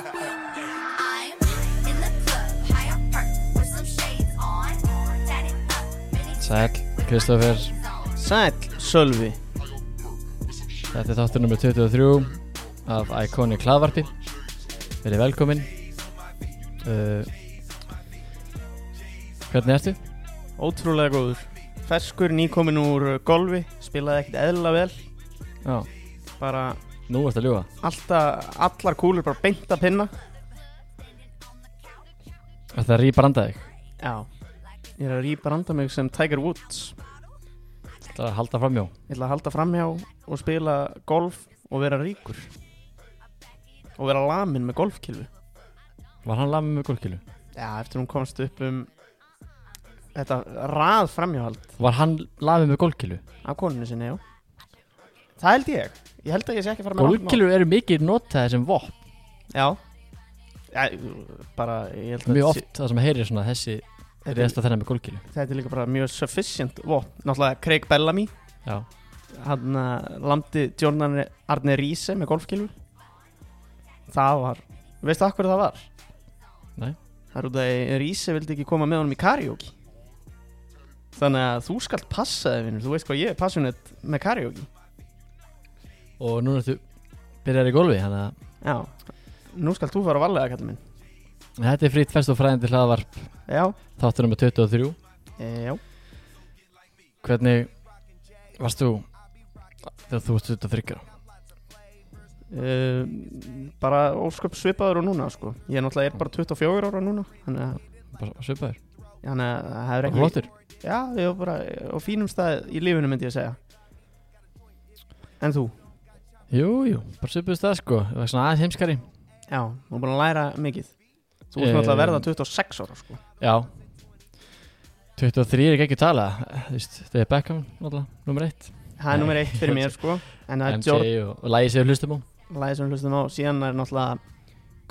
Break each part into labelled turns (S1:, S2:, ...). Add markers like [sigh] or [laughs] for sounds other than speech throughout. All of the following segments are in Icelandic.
S1: I'm in the club, high up perk, with some shades on. Tatted up, mini
S2: Sæl, Kristoffer,
S3: Sæll, Sölvi
S2: þetta er þáttur nr. 23 af Iconic hlaðvarpi Verið velkomin uh, Hvernig ertu?
S3: Ótrúlega góður Feskur, nýkomin úr uh, golfi Spilaði ekkert eðla vel
S2: Já,
S3: Bara
S2: nú ertu að ljúga
S3: alltaf, allar kúlur bara beint að pinna
S2: Ertu að rýbranda þig?
S3: Já Ég er að rýpa randa mig sem Tiger Woods
S2: Þetta að halda framjó
S3: Ég ætla að halda framhjá og spila golf og vera ríkur Og vera lamin með golfkilfu
S2: Var hann lamið með gólkilu?
S3: Já, eftir hún komst upp um Þetta rað framhjáhald
S2: Var hann lamið með gólkilu?
S3: Af konunni sinni, já Það held ég Ég held að ég sé ekki að fara með rangt mál.
S2: Gólkilu eru mikið notaði sem vopn
S3: Já Já, bara ég held að
S2: Mjög
S3: þetta sé-
S2: oft það sem heyrir svona þessi
S3: þetta,
S2: reyðst að þennan með gólkilu
S3: er- þetta er líka bara mjög sufficient vopn Náttúrulega Craig Bellamy
S2: Já,
S3: Hann uh, landi Jordan Arne Riese með golfkilfu Það var Veistu af hverju það var?
S2: Nei.
S3: Það er út að Riese vildi ekki koma með honum í karaoke Þannig að þú skalt passa þig vinnur Þú veist hvað ég er passionate með karaoke
S2: og núna ertu byrjar í gólfi, þannig að
S3: Já Nú skalt þú fara að valega kallið minn
S2: Þetta er frýtt fest og fræðandi hlaðvarp
S3: Já
S2: Þáttur nr. 23
S3: e, Já
S2: Hvernig varst þú þegar þú varst 23 ára?
S3: Uh, bara ósköp svipaður og núna sko. ég er náttúrulega er bara 24 ára núna þannig að-
S2: Bara svipaður,
S3: þannig að það hefur
S2: bara
S3: ekki
S2: flottur
S3: já, ég er bara á fínum stað í lífinu myndi ég segja en þú,
S2: Jú, jú, bara svipaður stað sko Ég var svona aðeins heimskari
S3: já, þú er búin að læra mikið þú ert
S2: Eh,
S3: náttúrulega að verða 26 ára sko.
S2: Já 23 er ekki ekki að tala Þú veist, þetta er Beckham náttúrulega, nummer 1
S3: það er nummer eitt fyrir mér sko.
S2: [laughs]
S3: en það er
S2: MJ
S3: Jordan
S2: og, og lægi sér hlustum á
S3: lagið sem við hlustum á, síðan er náttúrulega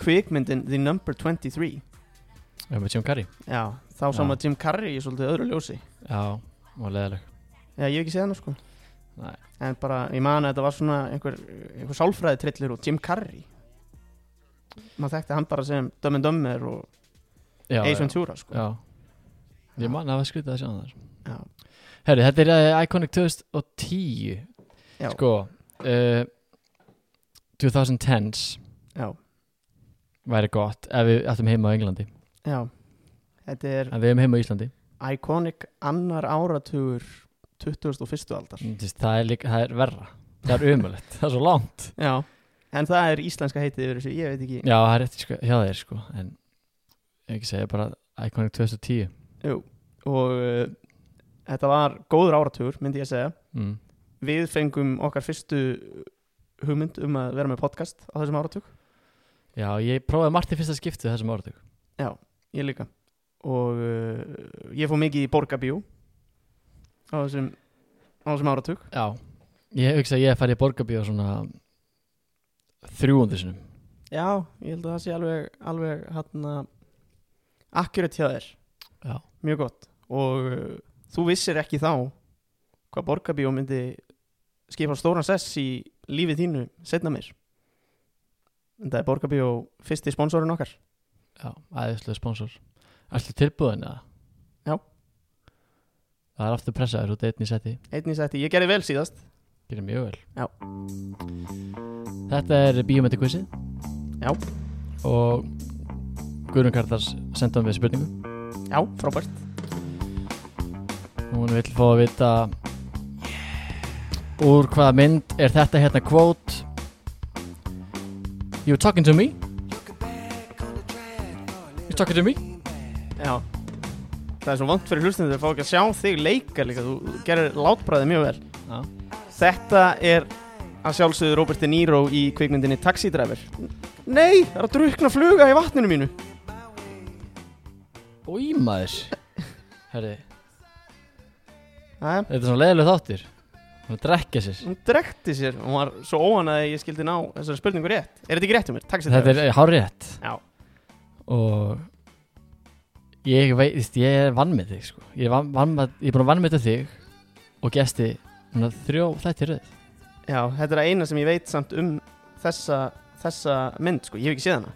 S3: kvikmyndin The Number 23
S2: Já, með Jim Carrey
S3: já, þá
S2: Já.
S3: saman Jim Carrey í svolítið öðru ljósi
S2: Já, og leðaleg
S3: já, ég hef ekki séð hana sko
S2: Nei,
S3: En bara, ég man að þetta var svona einhver, einhver sálfræði trillir og Jim Carrey maður þekkti hann bara sem Dumb and Dumber og
S2: já,
S3: Ace
S2: já,
S3: Ventura sko.
S2: já Ég man að það var skrítið að sjá það
S3: Já.
S2: Herri, þetta er eh, Iconic 2010
S3: Já.
S2: Sko uh, 2010s
S3: já,
S2: væri gott ef við ættum heima á Englandi
S3: já þetta er
S2: en við erum heima á Íslandi
S3: iconic annar áratugur 21. aldar
S2: Mm, þú veist, það er, líka, það er verra það er umulett, [laughs] það er svo langt
S3: já, en það er íslenska heitið yfir þessu, ég veit ekki
S2: já, það er rétt sko, hjá þeir sko en ég ekki segja bara Iconic 2010
S3: Jú. og uh, þetta var góður áratugur, myndi ég að segja
S2: mm.
S3: við fengum okkar fyrstu hugmynd um að vera með podcast á þessum áratug
S2: já, ég prófaði margt í fyrsta skiptið þessum áratug
S3: Ég líka Og uh, ég fór mikið í borgarbjó Á þessum Á þessum áratug
S2: já, ég hugsa að ég fær í borgarbíó svona 300 sinum
S3: Já, ég held að það sé alveg Alveg hann Akkurat hjá þér
S2: Já.
S3: Mjög gott Og uh, þú vissir ekki þá Hvað borgarbjó myndi Skipa stóran sess í lífið þínu Setna mér En það er borgarbjó fyrsti sponsorinn okkar
S2: já, æðislega sponsor allir tilbúðin eða?
S3: Já.
S2: það er aftur pressaður út einn í seti
S3: Einnig sætti, ég gerði vel síðast
S2: Gerir mjög vel
S3: Já.
S2: Þetta er bíómyndakvissið
S3: Já.
S2: Og Guðrun Kartars senda um við spurningu
S3: Já, frábært
S2: Hún vill fá að vita Úr hvaða mynd er þetta hérna kvót You talking to me You talking to me
S3: Já Það er svo vant fyrir hlustunum þegar fá ekki að sjá þig leika líka Þú þú gerir látbræði mjög vel
S2: Já.
S3: Þetta er að sjálfsögðu Robert De Niro í kvikmyndinni Taxi Driver Nei, það er að drukna fluga í vatninu mínu
S2: Új maður
S3: [laughs]
S2: Herri,
S3: Það er,
S2: þetta er svona leiðileg þáttir Hún er að drekka sér
S3: hún drekti sér Hún var svo óan að ég skildi ná þessari spurningu rétt Er þetta ekki rétt um mér? Taxi
S2: Þetta
S3: Driver
S2: er hárétt
S3: Já.
S2: Og Ég veit, veist, ég er vann með þig sko. Ég er, van, van, ég er búin að vann með þig Og gesti núna, þrjó þættir röð
S3: Já, þetta er að eina sem ég veit samt um þessa þessa mynd sko, ég hef ekki séð hana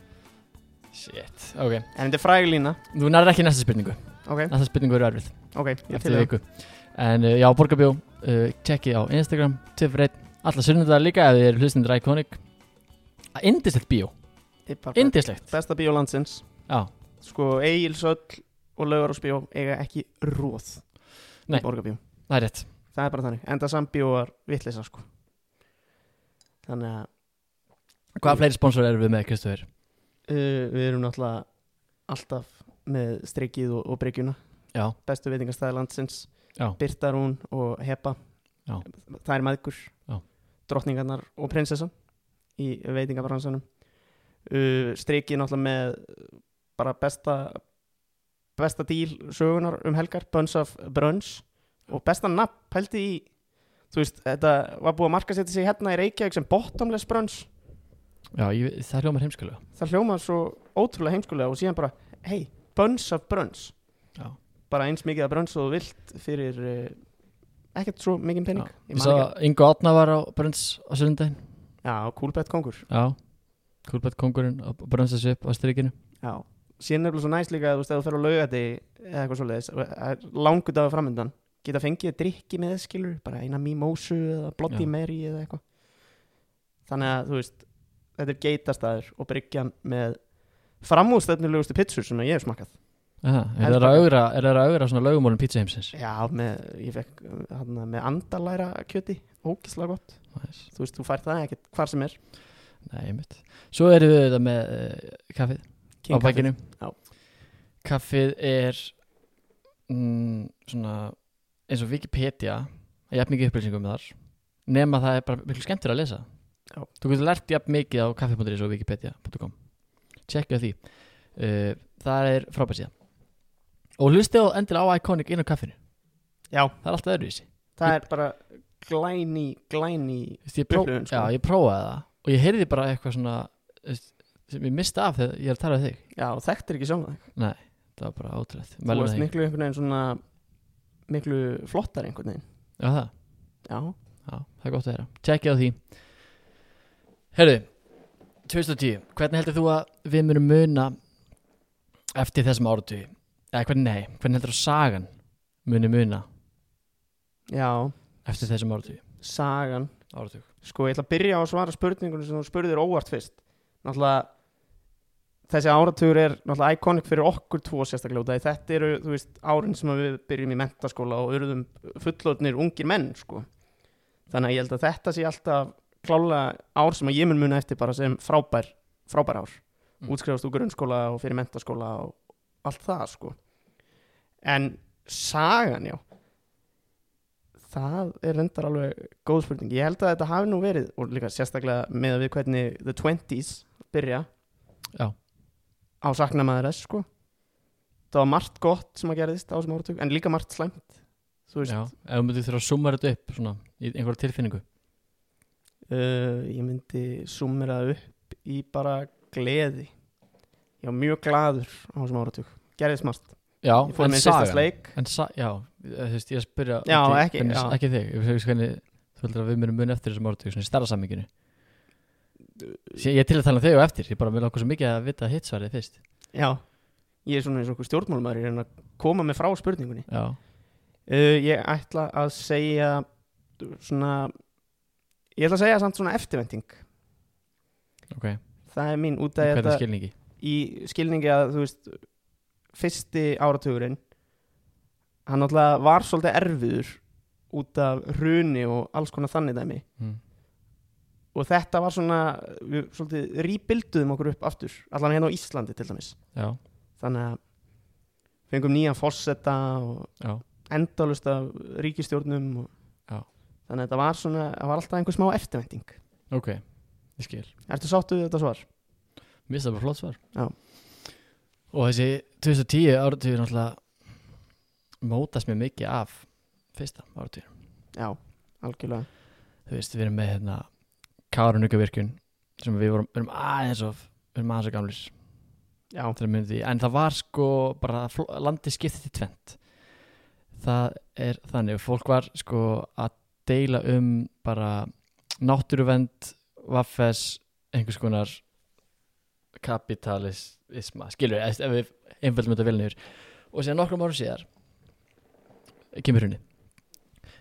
S2: Shit, ok
S3: En þetta er fræg lína
S2: Þú nærði ekki næsta spurningu
S3: Ok,
S2: Næsta spurningu eru erfið
S3: ok, ég til
S2: Eftir
S3: í það
S2: viku En uh, já, Borgabjó uh, Tjekki á Instagram Tvifreit Alla sunnundar líka Ef þið eru hlustindur Iconic Indislegt bíó
S3: Ég bara-
S2: Indislegt
S3: Besta bíó landsins
S2: Já
S3: Sko, Egilsöll og Laugarásbíó eiga ekki róð
S2: Nei.
S3: Borgabíó
S2: Það er rétt
S3: Það er bara þannig, enda sambíó var vitleysa sko Þannig að
S2: Hvaða fleiri sponsor eru við með, Kristofur?
S3: uh, við erum náttúrulega alltaf með strikið og, og bryggjuna
S2: Já.
S3: bestu veitingastæði landsins
S2: Já.
S3: Birtarún og Hepa
S2: Já.
S3: það er maðgur
S2: Já.
S3: drottningarnar og prinsessan í veitingabransanum uh, strikið náttúrulega með bara besta besta díl sögunar um helgar Buns of Bruns og besta nafn pældi í þú veist, þetta var búið að marka setja sig hérna í Reykjavík sem bottomless brunch
S2: Já, ég, það hljómar heimskalega
S3: það hljómaði svo ótrúlega heimskulega og síðan bara, hei, buns af bruns
S2: Já.
S3: bara eins mikið af bruns og þú vilt fyrir uh, ekkert svo mikið pening
S2: Já. Ég
S3: Ég man
S2: sá
S3: ekki-
S2: að Ingo Átna var á Brönns á sundaginn
S3: já, kúlbett kongur
S2: Já Kúlbætt kongurinn á Brönns að svip á strikinu
S3: já. síðan er það svo næst líka að þú veist, ef þú fer á laugati eða eitthvað svoleiðis, langur dagar framöndan geta fengið drikki með skilur bara eina mimosu eða blotti
S2: Já.
S3: meri eða eitthvað þannig að þú veist, þetta er geitastæður og bryggjan með framúðstöfnilegustu pitsur sem ég hef smakkað
S2: Aha, Er það að augra, er það að augra svona lögumólum pizza heimsins?
S3: Já, með, ég fekk hann, með andalæra kjöti, ógislega gott
S2: Nice.
S3: Þú veist, þú fær það ekkert hvar sem er
S2: Nei, mitt Svo erum við þetta með uh, kaffið á
S3: King
S2: bækinu
S3: Já.
S2: Kaffið er mm, svona eins og Wikipedia ég hef mikið upplýsingum með þar nema það er bara miklu skemmtir að lesa
S3: Já.
S2: þú getur lært jafn mikið á kaffi.is og wikipedia.com tjekkja því uh, það er frábæð síðan og hlustið á endilega á Iconic inn á kaffinu
S3: Kaffi. Já,
S2: það er alltaf öðruvísi
S3: það er bara glæni, glæni
S2: Þú veist, ég, pró
S3: Upplifun, sko.
S2: já, ég prófaði það og ég heyrði bara eitthvað svona þú veist, sem ég misti af þegar ég er að tala við þig
S3: Já, þekktir ekki sjálf það
S2: það var bara ótrúlegt
S3: Þú
S2: Mælum
S3: veist
S2: við þig.
S3: miklu einhvern veginn svona miklu flottar einhvern veginn
S2: Já, það
S3: Já,
S2: Já, það er gott að hera Tjekkið á því Herru, 2010 Hvernig heldur þú að við munum muna Eftir þessum áratugi Eða hvernig nei, hvernig heldur þú að sagan Muni muna
S3: já,
S2: eftir þessum áratugi
S3: sagan
S2: Áratug
S3: Sko, ég ætla að byrja á að svara spurningunum sem þú spurðir óvart fyrst Náttúrulega þessi áratugur er náttúrulega iconic fyrir okkur tvo sérstaklega út af því þetta eru, þú veist, árin sem að við byrjum í mentaskóla og urðum fullotnir ungir menn, sko þannig að ég held að þetta sé alltaf klálega ár sem að ég mun muna eftir bara sem frábær, frábær ár
S2: Mm.
S3: útskrifast úr grunnskóla og fyrir mentaskóla og allt það, sko en sagan, já það er reyndar alveg góð spurning ég held að þetta hafi nú verið og líka sérstaklega með að við hvernig the 20s byrja á sakna maður þess sko það var margt gott sem að gerðist á þessum áratug en líka margt slæmt þú veist,
S2: Já, ef þú myndir þurfa að summa þetta upp svona, í einhverja tilfinningu
S3: uh, ég myndi summera það upp í bara gleði ég var mjög gladur á þessum áratug gerðist margt,
S2: Já,
S3: ég fór
S2: en
S3: með
S2: sagan
S3: fyrsta sleik
S2: En sa já, þú veist, ég er að spyrja
S3: Já,
S2: út í
S3: ekki-
S2: hvernig,
S3: já.
S2: ekki þig Ég veist hvernig þú heldur að við munum muna eftir þessum áratugi Svona í starra samminginu
S3: Uh,
S2: Ég er til að tala um þig og eftir Ég bara vil okkur svo mikið að vita hitt svarið fyrst
S3: já, ég er svona eins og okkur stjórnmálumæður ég er að koma mig frá spurningunni
S2: Já
S3: Uh, ég ætla að segja svona ég ætla að segja samt svona eftirvending
S2: Ok,
S3: það er mín út
S2: í
S3: af
S2: hvernig
S3: þetta
S2: skilningi
S3: í skilningi að þú veist fyrsti áratugurinn hann náttúrulega var svolítið erfiður út af hruni og alls konar þannig dæmi
S2: mm.
S3: og þetta var svona við svolítið rýbilduðum okkur upp aftur allan hérna á Íslandi til dæmis
S2: Já,
S3: þannig að fengum nýjan fossetta og
S2: já,
S3: endalust af ríkistjórnum og,
S2: Já.
S3: þannig að þetta var svona það var alltaf einhver smá eftirvending
S2: ok Ég skil,
S3: Ertu sáttu við þetta svar?
S2: mér finnst það bara flott svar
S3: Já.
S2: Og þessi 2010 áratugur náttúrulega mótast mér mikið af fyrsta áratugur
S3: Já, algjörlega
S2: Þú veist, við erum með hérna Kárunaukavirkjun sem við vorum, við erum aðeins of við erum aðeins of gamlis
S3: Já,
S2: til að muna því en það var sko bara fl- landið skiptið til tvent það er þannig fólk var sko að deila um bara náttúruvend vaffes einhvers konar kapitalisma skilur, ef ef við einföldum þetta vel niður og síðan nokkrum árum síðar kemur húnni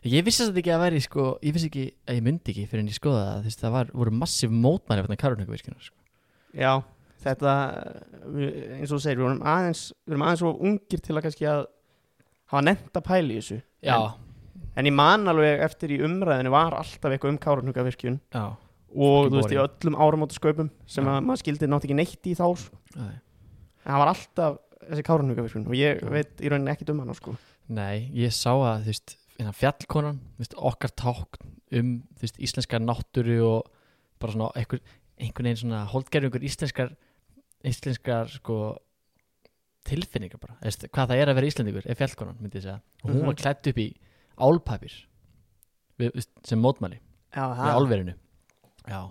S2: ég vissi þetta ekki að væri sko, ég vissi ekki að ég myndi ekki fyrir en ég skoða það, þú veist, það var, voru massíf mótmæli fyrir karunökuvirkina sko.
S3: Já, þetta við- eins og þú segir, við vorum aðeins við vorum aðeins og ungir til að kannski að hafa nefnt að pæla í þessu
S2: já,
S3: en ég man alveg eftir í umræðinu var alltaf eitthvað um Kárnhugavirkjun
S2: já,
S3: og
S2: Fucking
S3: þú veist í
S2: boring.
S3: öllum áramótasköpum sem
S2: Já.
S3: að maður skildi nátt ekki neitt í þá sko.
S2: já
S3: en það var alltaf þessi Kárnhugavirkjun og ég
S2: Já.
S3: veit í rauninni ekkit um hana sko.
S2: Nei, ég sá að þú veist, hérna fjallkonan, þú veist, okkar tákn um, þú veist, íslenskar náttúru og bara svona einhver, einhvern veginn svona holdgerðingur íslenskar íslenskar sko tilfinningar bara, þú veist, hvað það er að vera íslendingur er fjallkonan, myndi ég segja og hún var
S3: Mhm.
S2: klætt upp í álpapir við, þú veist, sem mótmæli
S3: Já,
S2: í
S3: það-
S2: álverinu Já,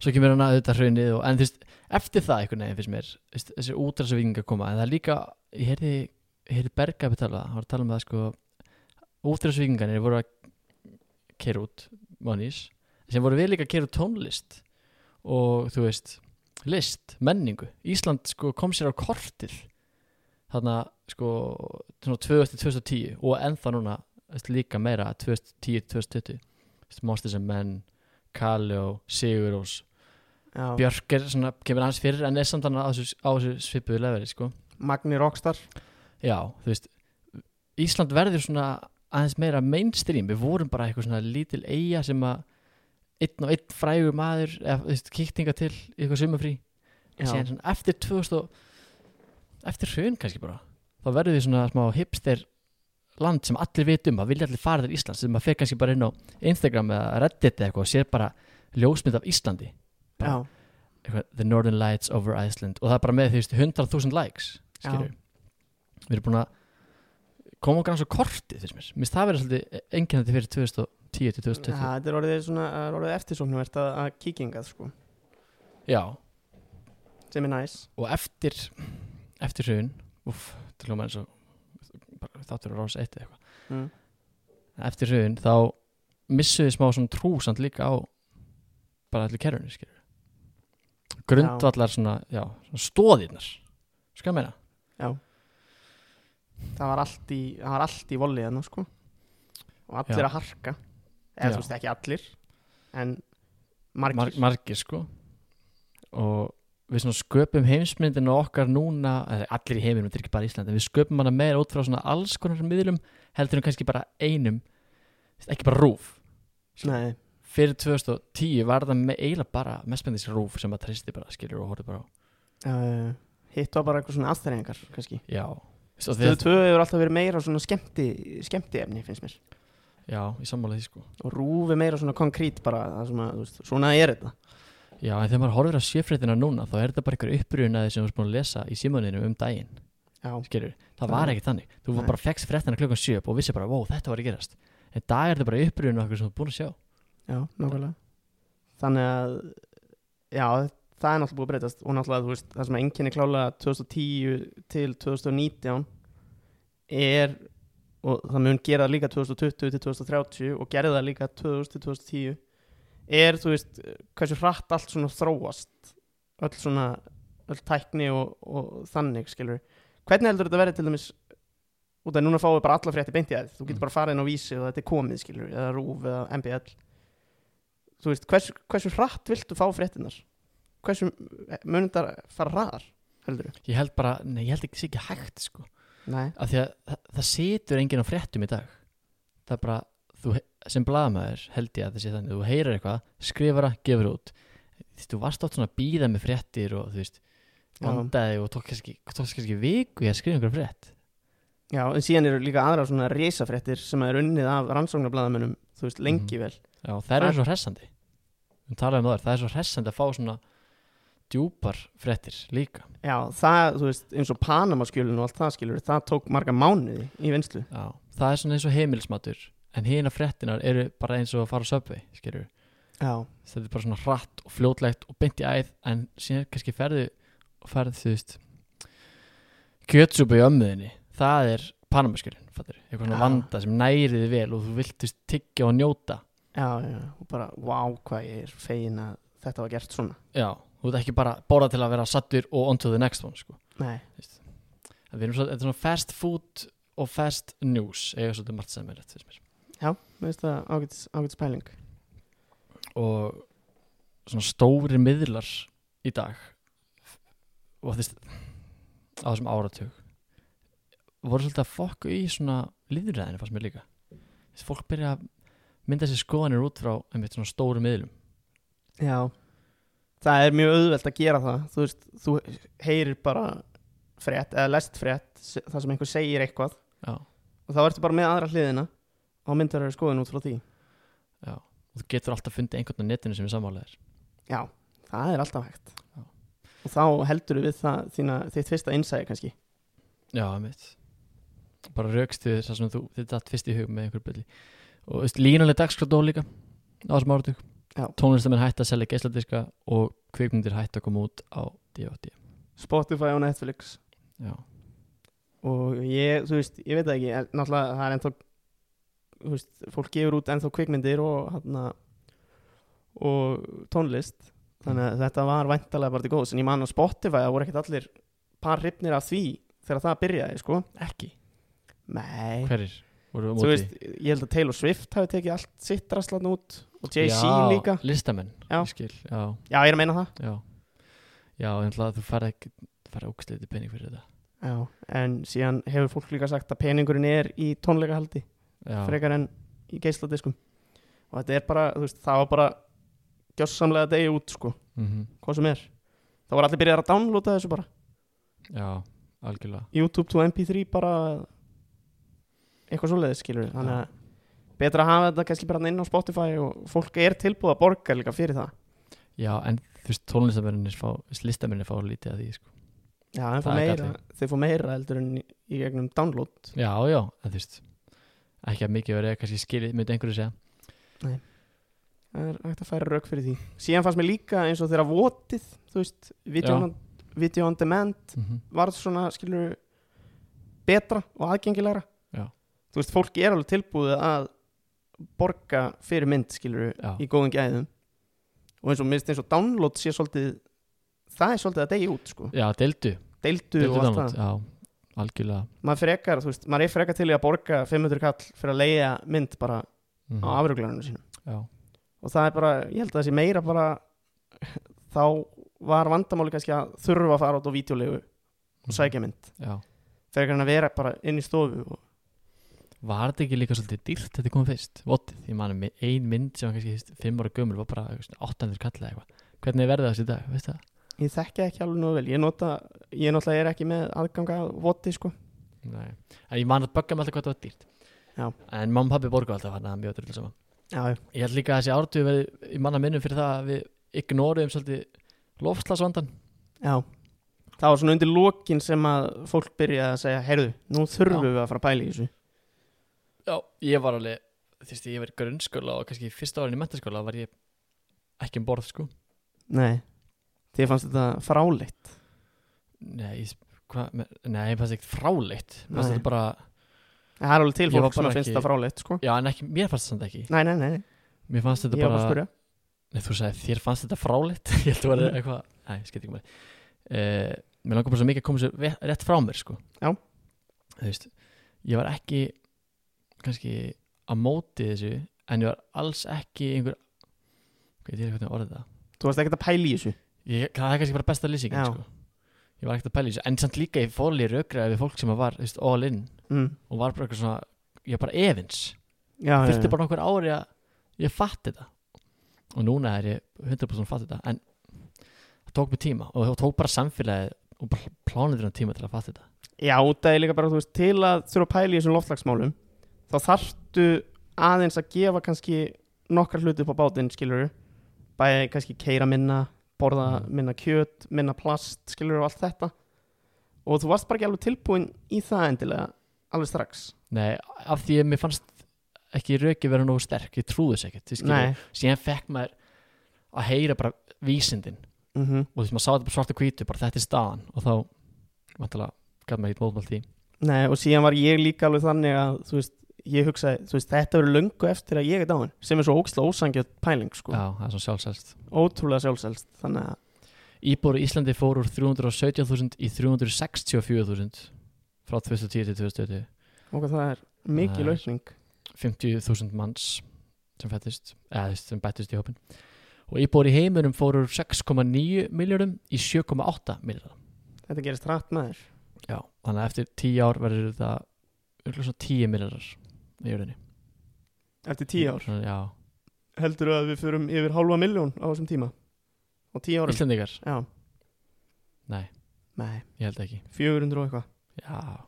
S2: svo kemur hann að auðvitað hraunið og, en þú veist, eftir það einhvern veginn finnst mér þú veist, þessi útrásvíkingar koma, en það er líka ég heyrði, ég heyrði Berga betala það, hann var að tala um það sko útrásvíkingarnir voru að kera út mannís, sem voru við líka að kera út tónlist og þú veist, list, menningu Ísland sko kom sér á kortið þarna sko svona 2010 og ennþá núna þú veist, líka meira 2010-2020 Monsters and Men Kaljó, Sigurós
S3: já.
S2: Björk er svona, kemur hans fyrir en er samt hann á þessu, á þessu svipuðu leveri sko.
S3: Magni Rockstar
S2: já, þú veist Ísland verður svona aðeins meira mainstream, við vorum bara eitthvað svona lítil eiga sem að einn og einn frægur maður, eða þú veist, kýktinga til í eitthvað sumafrí En
S3: Já.
S2: síðan svona eftir 2000 og, eftir hrun kannski bara þá verður því svona smá hipster land sem allir veit um, að vilja allir fara til Íslands sem maður fer kannski bara inn á Instagram eða Reddit eða eitthvað og sér bara ljósmynd af Íslandi,
S3: já.
S2: eitthvað, The Northern Lights over Iceland og það er bara með því 100.000 likes skilur við erum búin að koma okkar hans á kortið finnst mér, minnst það verður svolítið engennandi fyrir 2010 til
S3: Já,
S2: 2020
S3: þetta er orðið, svona, það er orðið eftirsóknuvert að, að kíkingað sko,
S2: já,
S3: sem er næs
S2: og eftir eftir hrun, uff, til hljóma eins og bara þáttur að rása eitt eða eitthvað
S3: mm.
S2: eftir hrun þá missu við smá svona trúsand líka á bara allir kerfinu skilur grundvallar svona, já, svona stóðirnar skal ég meina
S3: það var allt í, það var allt í volið hennar sko og allir
S2: Já.
S3: að harka eða
S2: Já.
S3: þú veist ekki allir en
S2: Mar
S3: margir
S2: margir sko og við svona sköpum heimsmyndinu okkar núna, eða allir í heiminum þetta er ekki bara Ísland, en við sköpum hana meira út frá svona alls konar miðlum, heldur en kannski bara einum, þú veist, ekki bara rúf
S3: Nei,
S2: fyrir 2010 var það með eiginlega bara mestmyndis rúf sem að tristi bara skilur og horfði bara á
S3: uh, hitt var bara eitthvað svona aðstæðingar kannski
S2: já, Þú veist, og
S3: Stöðu
S2: því að-
S3: 2 hefur alltaf verið meira svona skemmti, skemmti efni finnst mér
S2: já, í sammála því sko
S3: og rúfi meira svona konkrít bara það sem að, þú veist, svona er þetta
S2: Já, en þegar maður horfir að sjöfréttina núna þá er þetta bara einhver upprýðunaði sem þú ert búin að lesa í símaninu um daginn,
S3: Já,
S2: skilur Það
S3: Já.
S2: var ekki þannig, þú
S3: Nei.
S2: bara fegst fréttina klukkan sjöp og vissi bara, wow, þetta var að gerast En dag er þetta bara upprýðunaði okkur sem þú ert búin að sjá
S3: já, nákvæmlega Þannig að, já, það er náttúrulega búið að breytast og náttúrulega, þú veist, það sem enginni klálega 2010 til 2019 er og það mun gera það líka 2020 til 2030 og gerði það líka 2000 til 2010 er, þú veist, hversu hratt allt svona þróast öll svona, öll tækni og, og þannig, skilur Hvernig heldur þetta verið til dæmis út af núna fáum við bara alla frétti beint í að þú getur bara farið inn á vísi og þetta er komið, skilur eða rúf eða MBL þú veist, hversu, hversu hratt viltu fá fréttinar hversu munum þetta fara hraðar heldur
S2: Ég held bara, nei, ég held ekki sé ekki hægt, sko
S3: Nei.
S2: Af því að það, það situr enginn á fréttum í dag Það er bara, þú, he- sem blaðamaður held ég að það sé þannig, þú heyrir eitthvað skrifar að gefur það út Þú veist, þú varst átt svona að býða með fréttir og þú veist, vandaði og tók kannski, tók kannski viku í að skrifa einhverja frétt
S3: Já, en síðan eru líka aðra svona reisafréttir sem er unnið af rannsóknarbladamönnum þú veist, lengi
S2: Mhm.
S3: vel
S2: Já, þær
S3: Það-
S2: eru svo hressandi Við talaðum um það, það er svo hressandi að fá svona djúpar frettir líka
S3: Já, það, þú veist, eins og Panamaskjölun og allt það skilur, það tók marga mánuði í vinslu
S2: Já, það er svona eins og heimilsmatur en hina frettinar eru bara eins og að fara á söpvi, skilur
S3: Já,
S2: þetta er bara svona hratt og fljótlegt og beint í æð en síðan kannski ferðu og ferðu, þú veist kjötsúpa í ömmuðinni það er panamaskjölin, fattur eitthvað svona
S3: Já.
S2: vanda sem næri þið vel og þú vilt þú veist, tyggja og njóta
S3: já, já, og bara, vá, hvað ég er fegin að þetta var gert svona
S2: já, þú ert ekki bara borða til að vera sattur og on to the next one sko.
S3: Nei,
S2: En við erum svo, þetta er svona fast food og fast news eða svolítið margt sem er rétt fyrir mér
S3: mér finnst það ágætis, ágætis pæling
S2: og svona stóri miðlar í dag og þess á þessum áratug voru svolítið að fokka í svona líðuræðinu fannst mér líka þess fólk byrja að mynda sér skoðanir út frá einmitt svona stóru miðlum
S3: Já Það er mjög auðvelt að gera það Þú veist, þú heyrir bara frétt eða lest frétt se- það sem einhver segir eitthvað
S2: já,
S3: og þá ertu bara með aðra hliðina og myndar eru skoðin út frá því
S2: já og þú getur alltaf fundið einhvern á netinu sem er sammálaðir
S3: Já, það er alltaf hægt
S2: Já.
S3: og þá heldur við það þína, þitt fyrsta innsæði kannski
S2: já, einmitt bara raukstu þess sem þú þetta datt fyrst í hug með einhver byrli og veist, línuleg dagskrátó líka á þessum áratug
S3: Já.
S2: tónlistamenn hætti að selja geisladiska og kvikmyndir hætti að koma út á D.O.D.
S3: Spotify og Netflix
S2: Já,
S3: og ég, þú veist, ég veit það ekki en náttúrulega það er ennþá þú veist, fólk gefur út ennþá kvikmyndir og hana, og tónlist þannig að þetta var væntalega bara til góðs en ég man á Spotify að voru ekkert allir par hrifnir af því þegar það byrjaði, sko
S2: ekki
S3: Nei,
S2: Hverir? Voru á
S3: þú
S2: móti?
S3: veist, ég held að Taylor Swift hafi tekið allt sitt draslan út og Jay-Z
S2: Já,
S3: líka
S2: Listamenn,
S3: Já.
S2: ég skil Já,
S3: Já, ég er að meina það
S2: já Já, en hlað þú fara ekki fara ógstleiti pening fyrir þetta
S3: Já, en síðan hefur fólk líka sagt að peningurinn er í tónleikahaldi
S2: Já,
S3: frekar en í geisladiskum og þetta er bara, þú veist, það var bara gjörsamlega degi út, sko,
S2: mhm,
S3: hvað sem er það var allir byrjar að downloada þessu bara
S2: já algjörlega
S3: YouTube to MP3 bara eitthvað svoleiðis, skilur við þannig að betra að hafa þetta kannski bara inn á Spotify og fólk er tilbúið að borga líka fyrir það
S2: Já, en þú veist, tónlistamennir fá listamennir fá lítið að því, sko
S3: Já, þeir fá
S2: Það er
S3: meira, þeir fá meira heldur en í, í gegnum download
S2: Já, já, en þú veist ekki að mikið verið, kannski skilið, myndi einhverju segja
S3: það er hægt að færa rauk fyrir því síðan fannst mér líka eins og þeirra votið þú veist, video,
S2: Já.
S3: on, video on demand
S2: mhm,
S3: varð svona, skilur betra og aðgengilegra
S2: Já.
S3: þú veist, fólk er alveg tilbúið að borga fyrir mynd, skilur
S2: Já,
S3: í góðum gæðum og eins og minnst eins og download sé svolítið það er svolítið að degi út, sko
S2: já deildu,
S3: deildu
S2: deildu
S3: og allt
S2: dánlót
S3: það,
S2: Já, algjörlega
S3: maður frekar, þú veist, maður er frekar til í að borga 500 kall fyrir að leiða mynd bara
S2: mhm,
S3: á afruglarinu sínum
S2: Já,
S3: og það er bara, ég held að það sé meira bara [laughs] þá var vandamáli kannski að þurfa að fara út á videolegu
S2: Mhm.
S3: og sækja mynd,
S2: já
S3: frekar en að vera bara inn í stofu og
S2: Var þetta ekki líka svolítið dýrt þetta kom fyrst? Votið, ég mani ein mynd sem var kannski fyrst, fimm ára gömul var bara eitthvað svona 800 kalla eitthvað. Hvernig verði það þessi dag, veist það?
S3: Ég þekki ekki alveg nú vel, ég nota, ég náttúrulega er ekki með aðganga voti sko
S2: Nei. En ég man að bögga mig alltaf hvað það var dýrt.
S3: Já.
S2: En mamma og pabbi borgu alltaf hann að mjög drullu saman.
S3: Já,
S2: Ég held líka að þessi ártu verið, ég manna minnum fyrir það að við ignoruðum svolítið lofslagsvandan.
S3: já Það var svona undir lokin sem að fólk byrjaði að segja, heyrðu, nú þurfum
S2: Já.
S3: við að fara að pæla í þessu
S2: Já, ég var alveg, þú veist, ég var í grunnskóla og kannski fyrsta árin í mentaskóla var ég ekki um borð, sko.
S3: Nei, þið fannst þetta fráleitt
S2: Nei, ég, hva, nei, ég fannst ekki fráleitt. Mér fannst
S3: Nei.
S2: þetta bara-
S3: Það er alveg til
S2: Ég var
S3: fólk
S2: bara
S3: sem að finnst
S2: ekki-
S3: þetta fráleitt sko
S2: Já, en ekki, mér fannst þetta ekki.
S3: Nei, nei, nei,
S2: Mér fannst þetta
S3: ég var
S2: bara
S3: bara að spyrja Mm.
S2: Nei, þú sagði þér fannst þetta fráleitt [laughs] Ég held að þú var eitthvað Nei, ég skemmt ekki með uh, Mér langar bara svo mikið að koma sér ve- rétt frá mér sko.
S3: Já.
S2: Þú veist Ég var ekki kannski á móti þessu En ég var alls ekki einhver Hvað er þetta hvernig orðið það?
S3: Þú varst ekkert að pæla í þessu
S2: Ég, það er kannski bara besta lýsingin
S3: Já.
S2: sko. Ég var ekkert að pæla í þessu En samt líka ég fóli rökraði við fólk sem var þú veist, all in
S3: mm.
S2: Og var bara eitthvað svona Ég var bara efins
S3: Já, já,
S2: þurfti
S3: já.
S2: bara nokkur ári að ég fatt þetta og núna er ég 100% fatt þetta en það tók mig tíma og það tók bara samfélagið og bara plánuðurinn tíma til að fatt þetta
S3: já út að ég líka bara, þú veist, til að þurfa að pæla í þessum loftlagsmálum þá þarftu aðeins að gefa kannski nokkar hluti upp á bátinn, skilur bæði kannski keira minna borða
S2: Mm.
S3: minna kjöt, minna plast skilur og allt þetta og þú varst bara ekki alveg tilbúin í það endilega alveg strax
S2: Nei, af því að mér fannst ekki röki vera nógu sterk, ég trúði þess ekkert ég skil.
S3: Nei,
S2: síðan fekk maður að heyra bara vísindin
S3: mm
S2: og því maður sá þetta bara svart og hvítu, bara þetta er staðan og þá, vantilega, gaf maður ekkert mótmál því
S3: Nei og síðan var ég líka alveg þannig að þú veist, ég hugsaði, þú veist, þetta verður löngu eftir að ég er dáin, sem er svo ógstlega ósangjöld pæling, sko,
S2: Já, það er svona sjálfsælst
S3: ótrúlega sjálfsælst þannig að,
S2: Íbor í Íslandi fór úr 317.000 í 364.000 frá 2010 til 2020
S3: og það er mikil
S2: Það er-
S3: aukning
S2: 50.000 manns sem fættist, eða þú veist, sem bættist í hópin og íbor í heiminum fór úr 6,9 miljónum í 7,8 miljónum
S3: þetta gerist rætt með þér
S2: Já, þannig að eftir 10 ár verður þetta örugglega svona 10 miljónar í jörðinni
S3: eftir tíu ár,
S2: Svona, Já,
S3: heldur að við fyrum yfir hálfa miljón á þessum tíma og tíu árum,
S2: Íslandingar,
S3: já,
S2: nei,
S3: nei,
S2: ég held ekki
S3: 400 og eitthvað
S2: Já,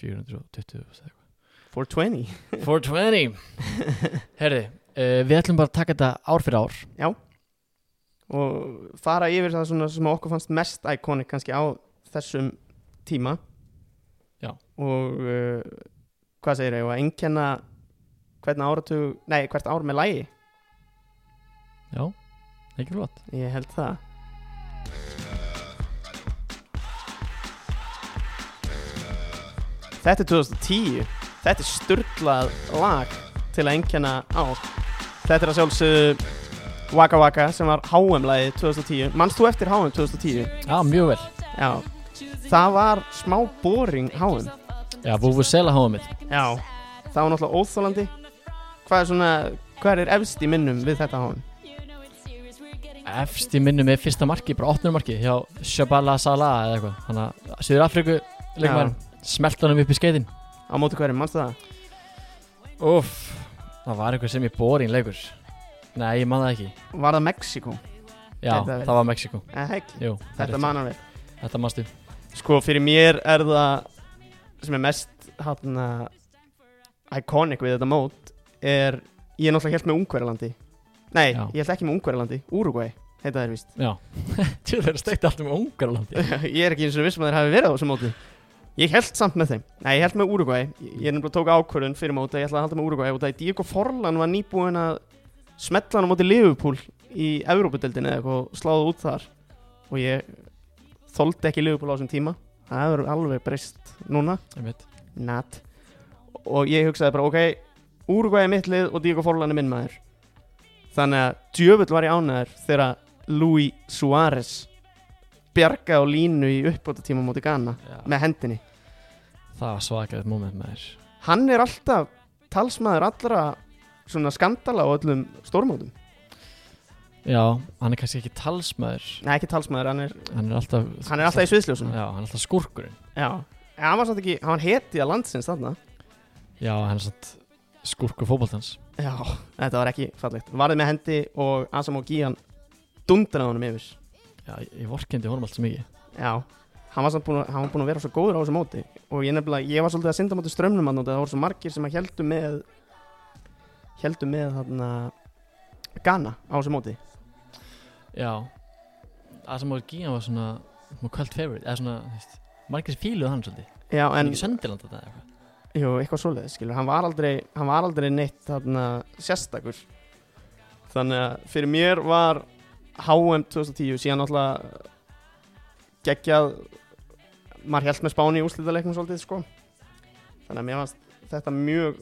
S2: 420 og eitthvað
S3: 420,
S2: [laughs] 420 Herði, uh, við ætlum bara að taka þetta ár fyrir ár
S3: og fara yfir það svona sem okkur fannst mest íkónik kannski á þessum tíma
S2: Já.
S3: og uh, hvað segir ég, að einkenna hvern áratug, nei hvert ár með lægi
S2: Já, ekki flott
S3: ég held það Þetta er 2010 Þetta er sturdlað lag til að einkenna á Þetta er að sjálfsögðu Waka Waka sem var HM-lagið 2010 Manst þú eftir HM 2010?
S2: Já, mjög vel
S3: Já Það var smá boring HM
S2: Já, Vúfu Sela háa mitt
S3: Já Það var náttúrulega óþólandi Hvað er svona, hvað er efst í minnum við þetta HM?
S2: Efst í minnum er fyrsta marki, bara 8. marki hjá Shabala Salah eða eitthvað Þannig að Suður Afriku leikmann smelt honum upp í skeiðin
S3: Á móti hverjum, manstu það?
S2: Uff, það var einhver sem ég boring leikur Nei, ég man það ekki
S3: Var það Mexiko?
S2: Já,
S3: Gæti það verið.
S2: það var Mexiko
S3: Eh, heik,
S2: Jú, það er
S3: þetta
S2: rétt.
S3: manna við
S2: Þetta manstu
S3: Sko fyrir mér er það sem er mest hátna iconic við þetta mót er, ég er náttúrulega helt með Ungverjalandi Nei,
S2: Já.
S3: ég held ekki með Ungverjalandi Uruguay, heita þeir víst
S2: [laughs] Já, til þeirra steikti allt um Ungarlandi
S3: [laughs] Ég er ekki eins og vissum um að þeir hafi verið á þessu móti Ég held samt með þeim Nei, ég held með Uruguay Ég ég er nefnilega tók ákvörðun fyrir mót að ég ætla að halda með Uruguay og það er Diego Forlan var nýbúin að smetla hann á móti Liverpool í Evrópudeldinu eða eitthvað og sláða út þar og ég þoldi ekki Liverpool á þessum tíma Það hefur alveg breyst núna
S2: Einmitt.
S3: Nat Og ég hugsaði bara, ok Úrugvæði er mitt lið og Diego Forlan er minn maður Þannig að djöfull var ég ánæður Þegar Luis Suárez Bjargaði á línu í uppbóta tíma Móti Ghana
S2: Já,
S3: með hendinni
S2: Það var svakaðið moment með þér
S3: Hann er alltaf talsmaður allra Svona skandala á öllum stórmótum
S2: Já, hann er kannski ekki talsmaður
S3: Nei, ekki talsmaður, hann er,
S2: Hann er alltaf
S3: hann er alltaf í sviðsljósum Já,
S2: Já, hann er alltaf skúrkurinn
S3: En hann var samt ekki, hann heti að landsins þarna
S2: Já, hann er satt skúrkur fótboltans
S3: Já, þetta var ekki fallegt Varði með hendi og Asamo Gían Dundar á honum yfir
S2: Já, ég, ég vorkendi honum allt svo mikið
S3: Já, hann var samt búin að, hann var búin að vera svo góður á þessu móti og ég nefnilega, ég var svolítið að synda á móti strömmnum að það voru svo margir sem að heldu með heldu með þarna Ghana á þessu móti
S2: Já Asamoah Gían var svona svona kvöld favorite eða svona, þú veist margir sem fíluðu hann svolítið
S3: Já,
S2: en
S3: en,
S2: ekki Söndiland þetta eða eitthvað
S3: jú, eitthvað svoleiðis, skilur hann var aldrei, hann var aldrei neitt þarna sérstakur þannig að fyrir mér var HM 2010 síðan náttúrulega geggjað maður held með spáni í úrslitaleiknum svolítið sko þannig að mér fannst þetta mjög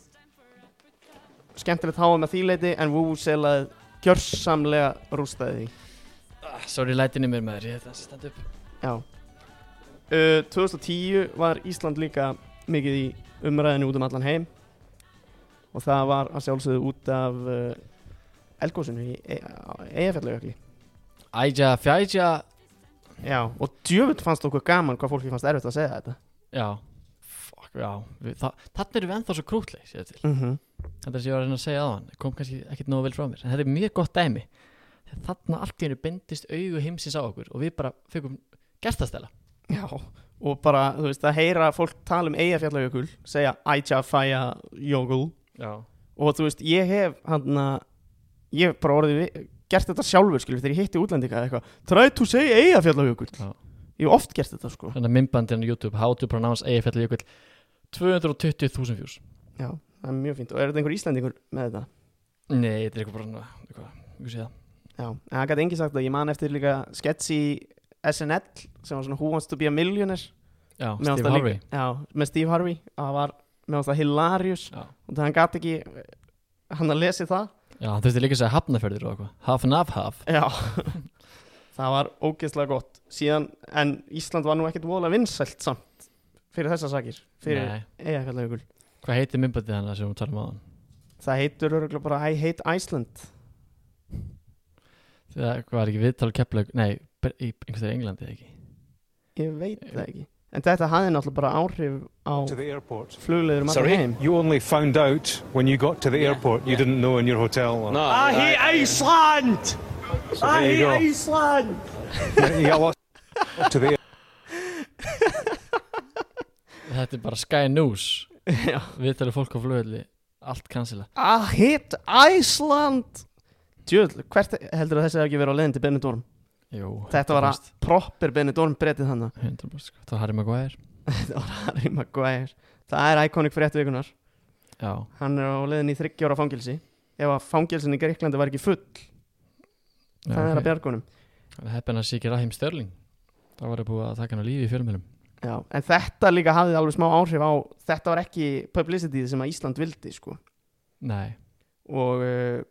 S3: skemmtilegt háa með því leiti en Wu selaði gjörsamlega rústaði því
S2: ah, Sorry, lætin í mér maður, ég þetta stend upp
S3: já uh, 2010 var Ísland líka mikið í umræðinu út um allan heim og það var að sjálfsögðu út af uh, elgósinu í E- Eiafjallajökli
S2: Æja, fjæja
S3: já og djöfitt fannst okkur gaman hvað fólki fannst erfitt að segja þetta
S2: Já Fuck, já við, þa Þannig erum við ennþá svo krútleg sér til
S3: mhm
S2: Þetta sem ég var að reyna að segja á hann kom kannski ekkit nógu vel frá mér en þetta er mjög gott dæmi Þegar þarna allt í hennu bendist augu heimsins á okkur og við bara fegum gestastela
S3: Já, og bara, þú veist, að heyra fólk tala um Eyjafjallajökul, segja Ætja, Fæja, Jökul
S2: Já
S3: og þú veist, ég hef hann ég hef bara orðið við, gert þetta sjálfur, skilur, þegar ég hitti útlendinga eða eitthvað Try to say Eyjafjallajökul
S2: Já.
S3: Ég hef oft gert þetta, sko
S2: Þannig að myndbandin á YouTube How to pronounce Eyjafjall Jökull 220.000 views
S3: Já, það er mjög fínt og er þetta einhver íslendingur með þetta?
S2: Nei, þetta er eitthvað bara svona, eitthvað, ég sé það
S3: Já, en það gæti engin sagt að ég man eftir líka sketsi í SNL sem var svona Who Wants to be a Millionaire
S2: Já,
S3: Mér fannst
S2: Steve
S3: það
S2: Harvey
S3: Já, með Steve Harvey það var mér fannst það hilarious
S2: Já.
S3: og það hann gat ekki hann að lesi það
S2: Já, hann þurfti líka að segja hafnafjörður og eitthvað Haf and half half
S3: Já, [laughs] það var ógeðslega gott síðan, en Ísland var nú ekkert vola vinsælt samt fyrir þessar sakir, fyrir
S2: Nei,
S3: eigafjallajökul
S2: hvað heitir myndbætið hann sem hún tala um á hann?
S3: Það heitur öruglega bara I hate Iceland
S2: Það var ekki viðtal keppleg Nei, ber- í einhvers þegar Englandi eða ekki
S3: Ég veit það ekki En þetta hafði náttúrulega bara áhrif á
S4: to the airport.
S3: flugleður maður
S4: Sorry,
S3: heim
S4: you only found out when you got to the airport. You didn't know in your hotel. Or... No, I hate Iceland. So there you go. [laughs] Iceland. you got lost to [laughs] the
S2: Þetta er bara Sky News
S3: [laughs] Já.
S2: Viðtalið fólk á flugvelli Allt cancela
S3: I hate Iceland Djöðl, hvert heldur að þessi hafi ekki verið á leiðin til Benidorm?
S2: Jú,
S3: Þetta var að proper Benidorm breytið þannig
S2: 100% sko. Það var Harry Maguire
S3: [laughs] Þetta var Harry Maguire Það er iconic frétt vikunar
S2: Já,
S3: Hann er á leiðin í 30 ára fangilsi Ef að fangilsin í Greiklandi var ekki full
S2: já
S3: Það er að
S2: ok.
S3: bjargunum
S2: Heppin að sé ekki Rahim Störling Það var að búið að taka hann á lífi í fjölmjölum
S3: Já, en þetta líka hafði alveg smá áhrif á Þetta var ekki publicityð sem að Ísland vildi sko.
S2: Nei,
S3: Og uh,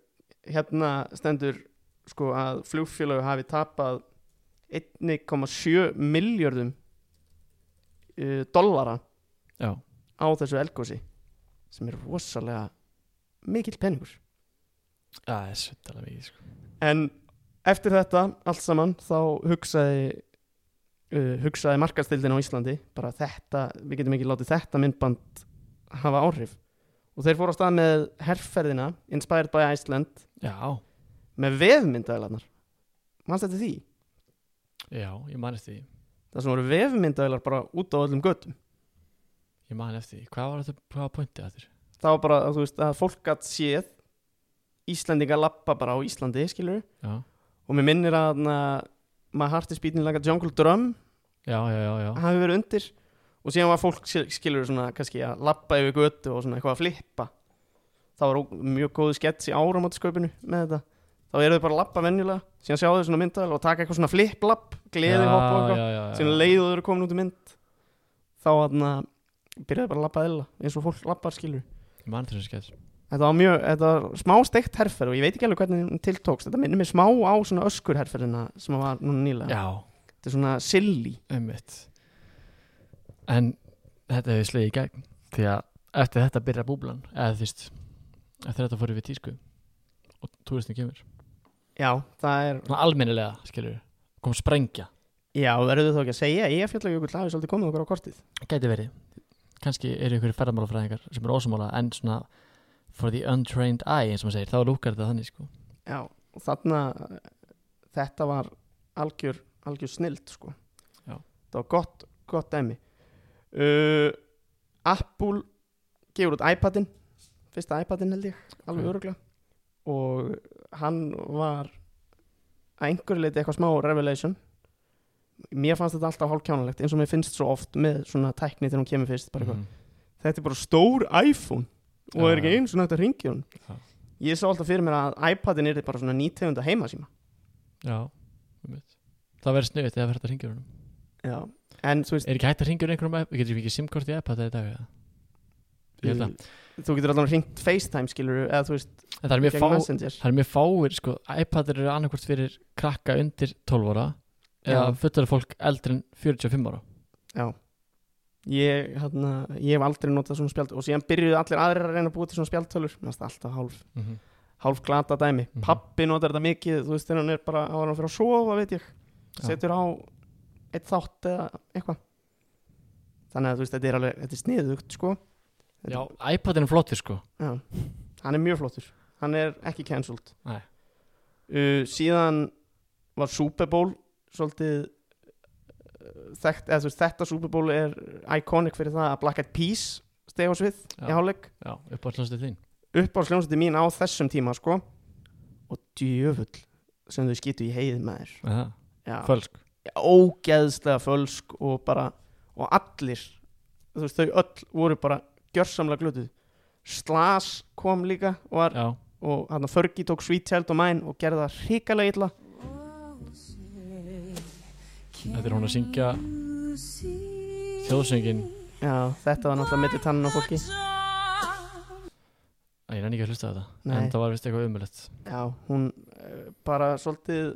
S3: hérna stendur sko, að flugfélög hafi tapað 1,7 miljörðum uh, dollara
S2: já,
S3: á þessu elgósi sem er rosalega mikill penningur
S2: Já, það er svettalega mikið sko.
S3: En eftir þetta allt saman þá hugsaði uh, hugsaði markastildin á Íslandi bara þetta, við getum ekki látið þetta myndband hafa áhrif og þeir fóru á stað með herrferðina Inspired by Iceland
S2: Já,
S3: með vefmyndaðilarnar mannst þetta því?
S2: já, ég man eftir því
S3: Það sem voru vefmyndaðilar bara út á öllum göttum
S2: Ég man eftir því, hvað var þetta, hvað var pointið að þér?
S3: það var bara að þú veist að fólk gætt séð Íslendinga lappa bara á Íslandi skilur
S2: Já,
S3: og mér minnir að na, maður harti spýtin laga Jungle Drum
S2: já, já, já, já.
S3: hafi verið undir og síðan var fólk skil- skilur svona kannski að lappa yfir götu og svona eitthvað að flippa það var ó- mjög góðu skets í áramáttisköpinu með þetta þá eru þau bara að lappa venjulega síðan sjáðu þau svona myndavel og taka eitthvað svona flip-lapp gleði sko. hopp og
S2: já,
S3: eitthvað
S2: já, já,
S3: síðan leiðu þau eru komin út í mynd þá þarna byrjaði bara að lappa eðla eins og fólk lappar skilur
S2: Ég man eftir þessu skell
S3: þetta var mjög, þetta var smá steikt herferð og ég veit ekki alveg hvernig hún tiltókst þetta minnir mig smá á svona öskur herferðina sem var núna nýlega,
S2: Já,
S3: þetta er svona silly
S2: einmitt En þetta hefur slegið í gegn Því að eftir þetta byrja búblan Eða þvist Eftir þetta fórum við tísku Og túristin kemur
S3: já, það er
S2: Svona almennilega, skilur Kom sprengja
S3: Já, verður þú þá ekki að segja að Eyjafjallajökull hafi svolítið komið okkur á kortið?
S2: Gæti verið Kanski eru ykkur ferðamálafræðingar sem eru ósamála En svona For the untrained eye, eins og maður segir Þá lúkar þetta þannig, sko
S3: Já, og þarna eh, þetta var algjör, algjör snild sko.
S2: Já.
S3: Það var gott, gott dæmi. Uh, Apple gefur út iPadin, fyrsta iPadin held ég, alveg
S2: Ok.
S3: öruglega. Og hann var að einhverju leiti eitthvað smá revelation. Mér fannst þetta alltaf hálfkjánalegt eins og mér finnst svo oft með svona tækni þegar hún kemur fyrst, bara eitthvað.
S2: Mhm.
S3: þetta er bara stór iPhone og
S2: Já,
S3: er ekki
S2: já.
S3: eins og nægt að ringja hún
S2: Já.
S3: ég sá alltaf fyrir mér að iPadin er bara svona nýtegunda heimasíma
S2: Já, einmitt Það verður snuðið eða verður þetta hringjur honum
S3: já. en þú veist
S2: Er ekki hægt að hringjur einhverjum app? Getur ekki simkort í app að þetta í dag? eða? Ég held að
S3: þú getur alltaf hringt FaceTime skilur eða þú veist,
S2: En það er mjög
S3: gegn
S2: fá
S3: Messenger
S2: Það er mjög fáir, sko, iPadir eru annarkvort fyrir krakka undir 12 ára eða
S3: Já.
S2: fullar fólk eldri en 45 ára
S3: ég, hana, ég hef aldrei notað svona spjald og síðan byrjuðu allir aðrir að reyna að búa til svona spjaldtölur Mér finnst það alltaf hálf, hálf glata dæmi
S2: Mhm.
S3: pappi notar þetta mikið, þú veist þegar hann er bara á hann fyrir að sofa veit ég
S2: Já.
S3: setur á eitt þátt eða eitthvað þannig að þú veist þetta er alveg, þetta er sniðugt sko
S2: Já, iPadin er flottir, sko
S3: Já, hann er mjög flottur Hann er ekki cancelled
S2: Nei.
S3: uh, Síðan var Super Bowl svolítið uh, þekkt, eða, þú veist, Þetta Super Bowl er iconic fyrir það að Black Eyed Peas steg á svið
S2: Já.
S3: í hálfleik
S2: Já, upp á hljóðslega þín
S3: upp á sljónsætti mín á þessum tíma sko. og djöfull sem þau skýtu í heið með
S2: Aha.
S3: þér
S2: Fölsk
S3: ógeðslega fölsk og bara og allir þú veist, þau öll voru bara gjörsamlega glötuð Slas kom líka og var
S2: Já,
S3: og hann að Fergie tók Sweet Child of Mine og gerði það hrikalega illa
S2: þetta er hún að syngja þjóðsöngin
S3: já, þetta var náttúrulega milli tannin á fólki
S2: nenni ekki að hlusta á þetta
S3: Nei.
S2: En það var vist eitthvað umulett
S3: Já, hún uh, bara svolítið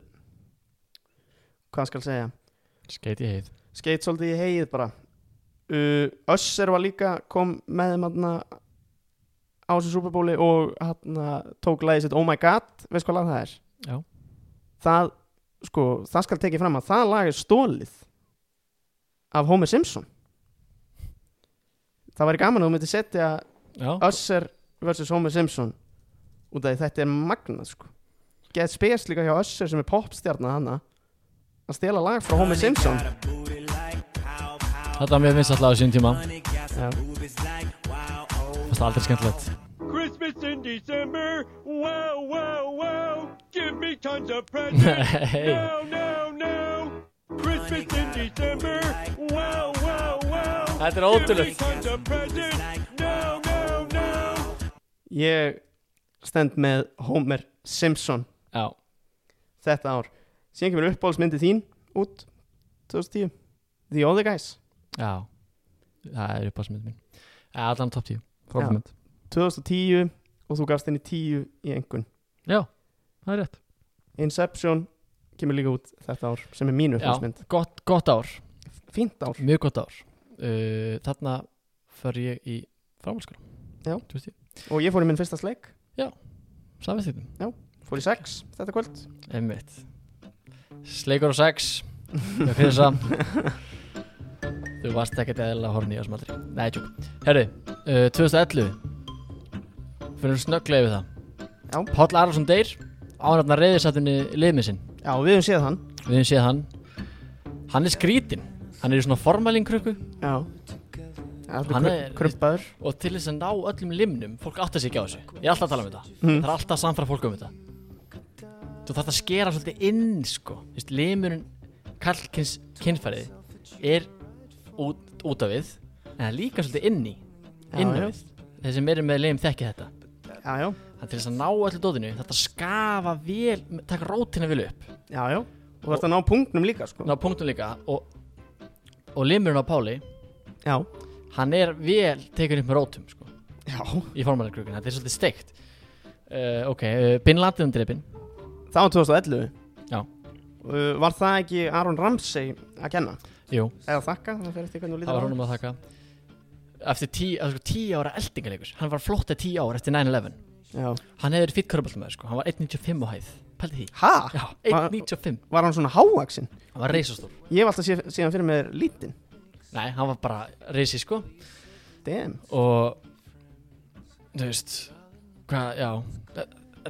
S3: hvað skal segja
S2: Skeit í heið
S3: skeitt svolítið í heið bara uh, Össer var líka kom með þeim hann á þessu superbóli og hann tók lagið sitt Oh My God, veist hvað lag það er?
S2: Já.
S3: Það, sko, það skal tekið fram að það lag er stólið af Homer Simpson Það væri gaman að þú myndir setja
S2: Já,
S3: Össer vs. Homer Simpson út af því þetta er magnað sko Get Space líka hjá Össer sem er popstjarnar hana að stela lag frá Homer Simpson
S2: þetta var mjög minnst alltaf á sín tíma
S3: Já.
S2: Fast aldrei skemmtilegt
S5: Christmas in December. Wow, wow, wow. Give me tons of
S2: [laughs]
S5: presents.
S2: Nei,
S5: no, no, no. Christmas in December. Wow, wow, wow.
S2: þetta er
S5: Give me
S2: ótrúlegt
S5: tons of presents. No, no, no.
S3: Ég stend með Homer Simpson
S2: Já,
S3: þetta ár Síðan kemur uppbólsmyndi þín út 2010 The Other Guys
S2: já Það er uppáðsmynd mín Eh, Allan top 10 Frábærmynd
S3: 2010 og þú gafst henni 10 í engun
S2: Já, það er rétt
S3: Inception kemur líka út þetta ár sem er mín uppbólsmynd
S2: Já, gott, gott ár
S3: Fínt ár
S2: Mjög gott ár uh, Þarna fer ég í framhalskóla
S3: Já.
S2: Þú veist ég,
S3: og ég fór í minn fyrsta sleik
S2: samvæstíðum
S3: fór í sex þetta kvöld
S2: Einmitt Sleikur og sex Ég fyrir þess Þú varst ekkert eðlilega horni í þessum aldri Nei, tjók Herri, uh, 2011 Fyrir snögglega yfir það
S3: Já.
S2: Páll Arason deyr Ánarna reyðisættunni liðmið sinn
S3: Já, við höfum séð hann
S2: Við höfum séð hann Hann er skrítinn Hann er í svona formalinkrukku
S3: Já
S2: Hann
S3: Þetta
S2: er-
S3: er krumpaður
S2: Og til þess að ná öllum limnum Fólk átt að sig ekki á þessu Ég er alltaf að tala um þetta Það er alltaf að samfara fólk um þetta Þú þarf að skera svolítið inn sko Þú veist, Limurinn kallkins kynfærið Er út, út af við En það er líka svolítið inn í Inn á
S3: já.
S2: við Þeir sem eru með lim þekki þetta
S3: Já, já,
S2: Það er til þess að ná öllu dóðinu Þetta skafa vel Takk rótina vel upp
S3: já, já Og þú ert að ná punktnum líka, sko
S2: Ná punktum líka Og, og limurinn á Páli
S3: Já,
S2: Hann er vel tekin upp með rótum sko
S3: já
S2: í formalarkrukkan, þetta er svolítið steikt uh, ok, uh, Bin Laden drefin
S3: Það var 2011
S2: Já.
S3: Uh, Var það ekki Aron Ramsey að kenna?
S2: jú,
S3: Eða þakka, það fer eftir hvernig þú
S2: það
S3: lítur
S2: var honum að þakka eftir tí, að, sko, tíu ára eldingarleikus hann var flott að tíu ára eftir 9-11
S3: Já.
S2: hann hefði verið fýtt körbaldumæður sko, hann var 1.95 á hæð pældi því,
S3: Ha?
S2: já,
S3: Var-
S2: 1.95
S3: Var hann svona hávaksinn?
S2: hann var reisastór,
S3: Ég hef alltaf sé, séðan fyrir mér lítinn
S2: nei, hann var bara reisi sko,
S3: Damn
S2: og þú veist, hvað, já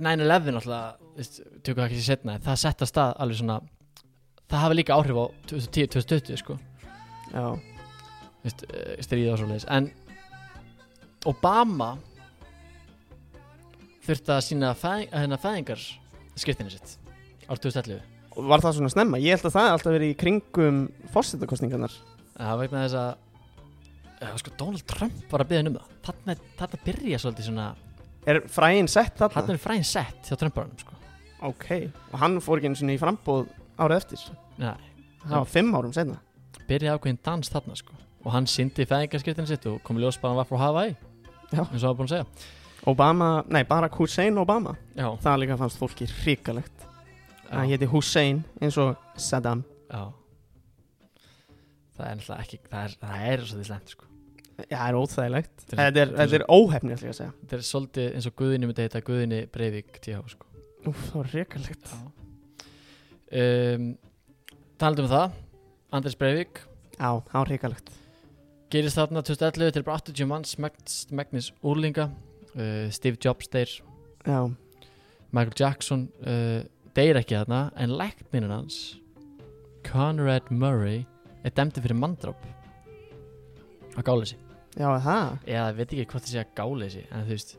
S2: 9-11 alltaf, veist, tökum það ekki sér setna það sett að stað alveg svona það hafi líka áhrif á 2010-2020 sko
S3: Já,
S2: þú veist, eh, stríð og svoleiðis en Obama þurfti að sína fæðing, hennar fæðingar skiptinu sitt árið 2011
S3: Og var það svona snemma? Ég held að það hef alltaf verið í kringum fórsetakostningarnar
S2: það var vegna þess að eh, sko, Donald Trump var að byggja um það þarna, þarna byrja svolítið svona
S3: Er fræin sett þarna?
S2: þarna er fræðin sett hjá Trumparunum sko.
S3: Ok, og hann fór ekki einu sinni í frambóð árið eftir
S2: Nei,
S3: Það var fimm árum senna
S2: byrja ákveðin dans þarna sko. og hann syndi fæðingarskiptinu sitt og kom í ljós bara hann var frá Hawaii
S3: Já.
S2: eins og hann var búin að segja
S3: Obama, nei, Barack Hussein Obama
S2: já,
S3: Það líka fannst fólki hrikalegt
S2: já.
S3: Hann héti Hussein eins og Saddam
S2: Já Það er náttúrulega ekki Það er, það er svolítið slemt sko
S3: Já, það er óþægilegt
S2: Þetta er-
S3: Þetta er, þetta er óhefni, ætla ég að segja
S2: Þetta er svolítið eins og Guðinni myndi heita Guðinni Breivík TH sko
S3: Úf, það var hrikalegt
S2: um, Talandi um það Andrés Breivík
S3: Já, það var hrikalegt
S2: Gerist þarna 2011 til bara 80 manns Magn- Magnus Úrlinga uh, Steve Jobs deyr
S3: Já,
S2: Michael Jackson uh, deyr ekki þarna En læknirinn hans Conrad Murray er dæmdi fyrir manndróp á gáleysi
S3: já, það
S2: eða ég veit ekki hvort það sé að gáleysi en þú veist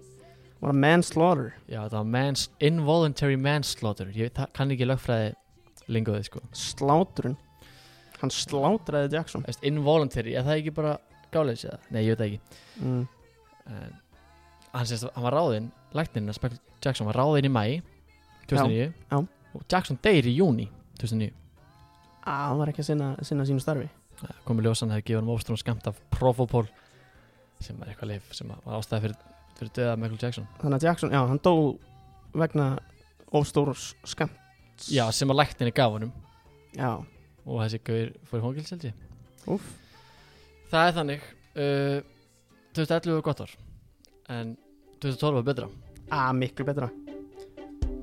S3: var manslaughter
S2: Já, það var mans, involuntary manslaughter Ég það, kann ekki lögfræði lingoðið sko
S3: Sláturinn Hann slátraði Jackson
S2: Eftir, Involuntary, er það ekki bara gáleins eða? Nei, ég veit það ekki
S3: mm.
S2: en, hann, sést, hann var ráðinn, læknirinn að Michael Jackson var ráðinn í mæ 2009
S3: já.
S2: og Jackson deyr í júni 2009
S3: Á, Ah, hann var ekki að sinna, sinna sínu starfi
S2: Það kom í ljós að hann hefði gefið hann óströnd skamt af Provopol sem er eitthvað leif sem að var ástæði fyrir fyrir döða Michael Jackson
S3: Þannig að Jackson, já, hann dó vegna ofstórs skam
S2: Já, sem að lækninni gaf honum
S3: Já,
S2: og þessi gauðir fór í hóngils held ég
S3: úff
S2: Það er þannig uh, 2011 var gott ár en 2012 var betra
S3: að Ah, miklu betra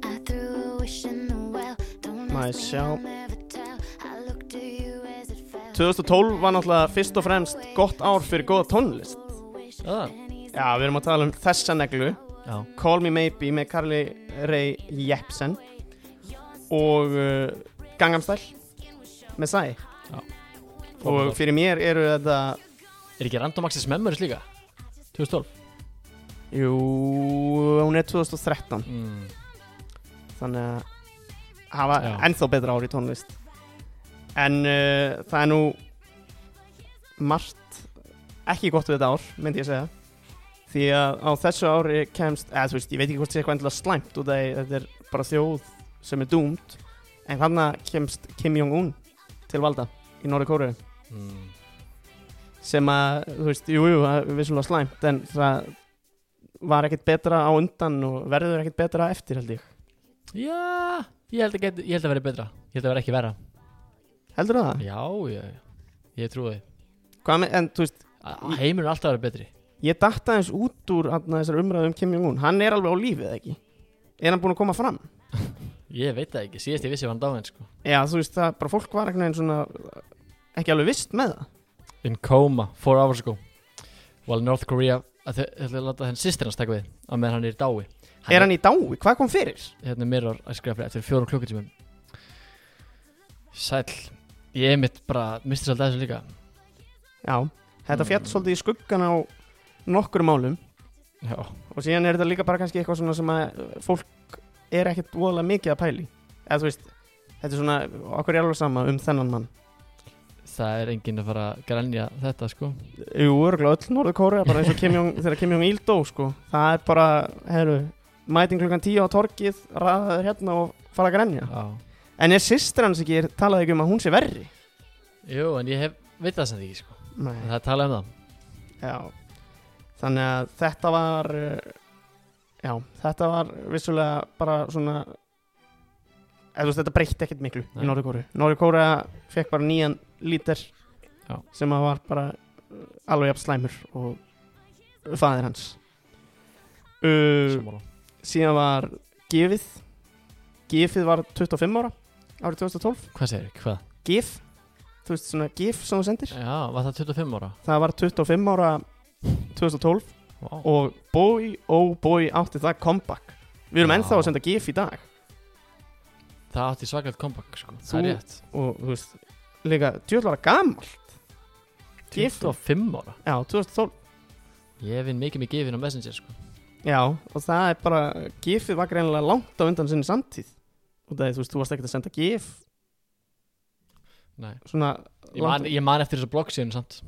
S1: I threw a wish in the well. Don't
S3: Maður
S1: ask me,
S3: sjá.
S1: I'll never tell. I looked to you as it fell.
S3: 2012 var náttúrulega fyrst og fremst gott ár fyrir góða tónlist
S2: Það,
S3: Já, við erum að tala um þessa neglu
S2: já,
S3: Call Me Maybe með Carly Rae Jepsen og uh, Gangnam Style með Sæ
S2: Já.
S3: og fyrir mér eru þetta
S2: er ekki Random Access Memories líka? 2012
S3: jú, hún er 2013
S2: mm.
S3: þannig að hafa
S2: Já.
S3: ennþá betra ár í tónlist en uh, það er nú margt ekki gott við þetta ár, myndi ég segja því að á þessu ári kemst eða þú veist, ég veit ekki hvort sé eitthvað endilega slæmt út af því þetta er bara þjóð sem er dúmt en þannig kemst Kim Jong-un til valda í Norri Kóru
S2: Mm.
S3: sem að, þú veist, jú, jú, það er vissulega slæmt en það var ekkert betra á undan og verður ekkert betra eftir held ég,
S2: Já, ég held að, get, ég held að vera betra Ég held að vera ekki vera
S3: heldur það?
S2: Já, ég, ég trúi því
S3: Hvað með, en þú veist,
S2: Að- að Heimurinn er alltaf að vera betri
S3: ég datt aðeins út úr hann, þessar umræðu um Kim Jong-un, hann er alveg á lífið ekki, er hann búin að koma fram
S2: Ég veit það ekki, síðast ég vissi var hann dáin sko.
S3: já þú veist það, bara fólk var eitthvað svona eh, ekki alveg vist með það
S2: In coma, four hours ago While North Korea að Þau ætlaði að láta henn sýstir hans taka við á meðan hann er í dái hann
S3: er hann í dái, hvað kom fyrir?
S2: hérna Mirror að skrifa fyrir eftir fjórum klukkutímum Sæll Ég er mitt bara, misti svolítið af þessu líka
S3: já, þetta
S2: Mm.
S3: fjall svolítið í skuggan á nokkur málum
S2: Já,
S3: og síðan er þetta líka bara kannski eitthvað svona sem að uh, fólk er ekkert voðalega mikið að pæli eða þú veist, þetta er svona okkur er alveg sama um þennan mann
S2: það er enginn að fara að grænja þetta sko
S3: Jú, örgulega öll Norður Kórea bara eins og Kim Jong, þegar Kim Jong Il dó sko. það er bara, heyrðu mæting klukkan 10 á torkið, raðaður hérna og fara að grenja.
S2: Já
S3: En er sýstir hans ekki, er- talaði ekki um að hún sé verri?
S2: Jú, en ég hef, veit það sem því ekki sko En
S3: Nei.
S2: Það er talað um það
S3: Já. Þannig að þetta var uh, já, þetta var vissulega bara svona eða þú veist, þetta breytti ekkert miklu
S2: Nei.
S3: í Norður Kórea. Norður Kórea fekk bara nýjan lítir
S2: Já.
S3: sem að var bara uh, alveg jafn slæmur og faðir hans. Uh,
S2: Sammála.
S3: síðan var Gifið Gifið var 25 ára árið 2012
S2: Hvað segir þau, hvað?
S3: Gif, þú veist svona Gif sem þú sendir
S2: Já, var það 25 ára?
S3: það var 25 ára 2012
S2: Vá
S3: og boy, oh boy átti það comeback við erum
S2: Já.
S3: ennþá að senda Gif í dag
S2: Það átti svakalt comeback sko Það
S3: Þú-
S2: er rétt
S3: og þú veist, líka djöðlara gammal Gif.
S2: 25 ára
S3: já, 2012
S2: Ég vinn mikið með gifin á Messenger sko
S3: já, og það er bara Gifið var greinilega langt á undan sinni samtíð og það er, þú veist, þú varst ekkert að senda Gif
S2: Nei
S3: svona
S2: Ég man, ég man eftir þessu blogg síðan samt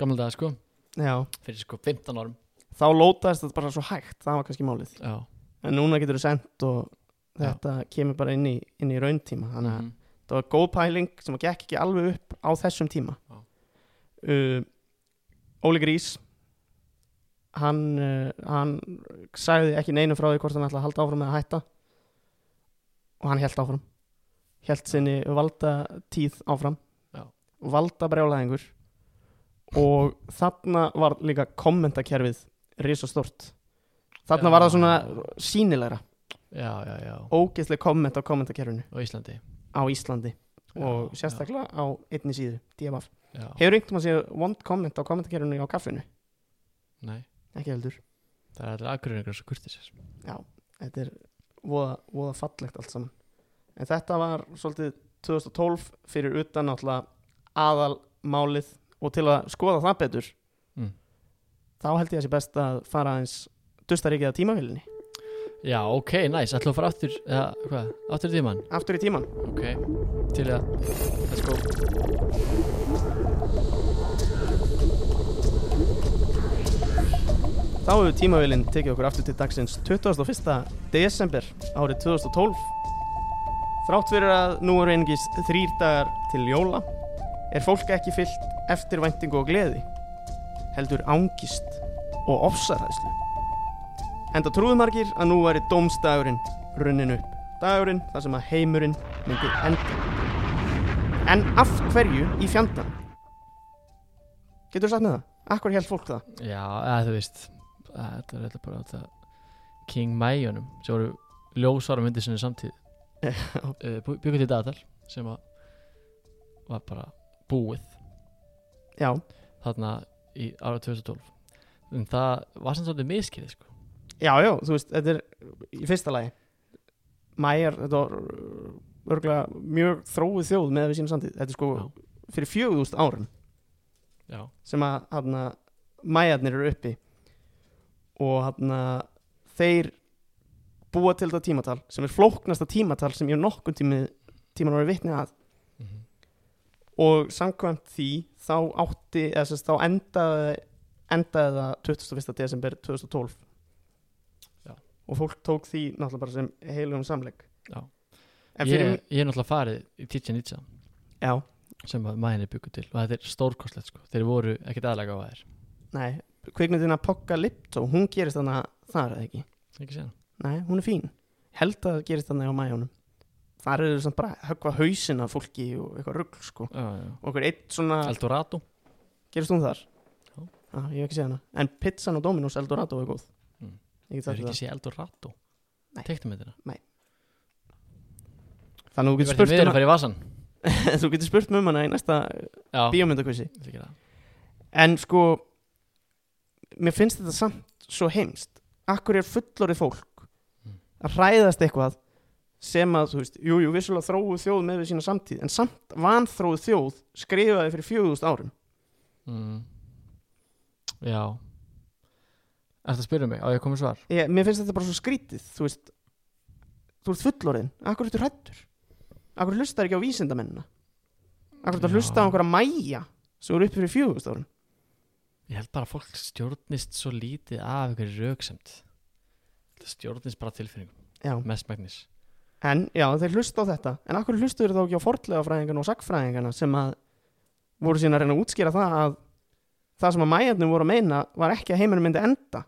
S2: Gamla dag sko
S3: já,
S2: Fyrir sko 15 árum Mhm.
S3: þá lótaðist þetta bara svo hægt það var kannski málið
S2: Já
S3: en núna getur þú sendt og
S2: Já.
S3: þetta kemur bara inn í, inn í rauntíma þannig að
S2: Mhm.
S3: það var góð pæling sem að gekk ekki alveg upp á þessum tíma
S2: Já.
S3: uh, Óli Grís hann, uh, hann sagði ekki neinu frá því hvort hann ætla að halda áfram með að hætta og hann held áfram held sinni valda tíð áfram
S2: Já.
S3: valda brjálæðingur og þarna var líka kommentakerfið risastort þarna
S2: Já.
S3: var það svona sínilegra
S2: Já, já, já
S3: ógeðsleg komment á kommentakerfinu
S2: Á Íslandi
S3: á Íslandi og
S2: Já,
S3: sérstaklega á einni síðu, DMF
S2: Já, já.
S3: Hefur einhvern veginn séð vond komment á kommentarkerfinu á kaffinu?
S2: Nei,
S3: Ekki heldur
S2: það er allir aðgurinn eins og kurtis
S3: Þetta er voða, voða fallegt allt saman En þetta var svolítið 2012 fyrir utan náttúrulega aðalmálið og til að skoða það betur
S2: Mm.
S3: þá held ég að sé best að fara aðeins dustaríkið að tímavélinni
S2: Já, ok, næs, nice. ætlum við að fara aftur eða, hvað, aftur í tímann
S3: aftur í tíman
S2: Ok, til í það Let's go
S3: Þá hefur tímavélinn tekið okkur aftur til dagsins 21. desember árið 2012 Þrátt fyrir að nú eru einungis þrýr dagar til jóla er fólk ekki fyllt eftirvæntingu og gleði heldur angist og ofsaræðslu Enda trúðu margir að nú væri dómstagurinn runnin upp. Dagurinn þar sem að heimurinn myndi enda. En af hverju í fjandan? Getur þú sagt með það? Akkur held fólk það? [laughs]
S2: Já, eða þú veist að Þetta var eitthvað bara þetta King Majonum sem voru ljósvara myndir sinni samtíð
S3: Já.
S2: uh, Byggur til dagatal sem að var bara búið
S3: Já,
S2: þarna í ára 2012 en það var sem svolítið miskið sko.
S3: já, já, þú veist, þetta er í fyrsta lagi. Mæjar, þetta var örgulega mjög þróið þjóð með við sína samtíð. Þetta er sko
S2: Já.
S3: fyrir 4000 árum.
S2: Já,
S3: sem að hana, mæjarnir eru uppi og hana, þeir búa til þetta tímatal sem er flóknasta tímatal sem ég nokkun tími, tíman var vitni að
S2: Mhm.
S3: og samkvæmt því þá átti, eða sérst þá endaði endaði það 21. desember 2012
S2: Já.
S3: og fólk tók því náttúrulega bara sem heilum samleik
S2: Já.
S3: en
S2: ég,
S3: fyrir yeah.
S2: ég er náttúrulega farið í Títsja Nýtsa
S3: já,
S2: sem að maðinni byggur til og þetta er stórkostlegt sko. þeir voru ekkert aðlega á aðeir
S3: nei, kvikmyndina Pogga Lipto, hún gerist þannig þar eða ekki
S2: ekki séðan
S3: Nei, hún er fín Held að það gerist þannig á mæjónum Þar eru samt bara að höggva hausinn af fólki og eitthvað rugl sko
S2: uh,
S3: Og okkur eitt svona,
S2: Eldorado
S3: gerist hún þar?
S2: Já.
S3: Já, ég hef ekki séð hana En pizzan og Dominos Eldorado er góð
S2: Mm.
S3: Ég
S2: Þeir
S3: get sagt
S2: ekki
S3: það
S2: sé Eldorado
S3: Nei.
S2: Teiknumyndina
S3: Þannig að þú
S2: Ég verði
S3: getur spurt,
S2: meður
S3: um
S2: að fara í vasan
S3: hana- [laughs] þú getur spurt mig um hana í næsta
S2: Já,
S3: bíómyndakvissi
S2: ég gera það.
S3: En sko, mér finnst þetta samt svo heimst Akkur er fullorið fólk
S2: Mm.
S3: að hræðast eitthvað sem að, þú veist, jú, jú, vissulega þróuð þjóð með við sína samtíð, en samt vanþróuð þjóð skrifaði fyrir 4000 árum
S2: Mm. Já Ertu að spyrja mig, á ég komið svar
S3: ég, mér finnst þetta bara svo skrítið þú veist, þú ert fullorðin akkur ertu hrættur akkur hlustar ekki á vísindamennina akkur ertu að
S2: Já.
S3: hlusta á einhverja mæja sem eru uppi fyrir fjögust árum
S2: Ég held bara að fólk stjórnist svo lítið af einhverju rauksemt Það stjórnist bara tilfinningum,
S3: já.
S2: mest megnis
S3: en já, þeir hlusta á þetta en akkur hlustuður þá ekki á fornlegafræðingana og sagfræðingana sem að voru síðan að reyna að útskýra það að það sem að mæjarnir voru að meina var ekki að heiminum myndi enda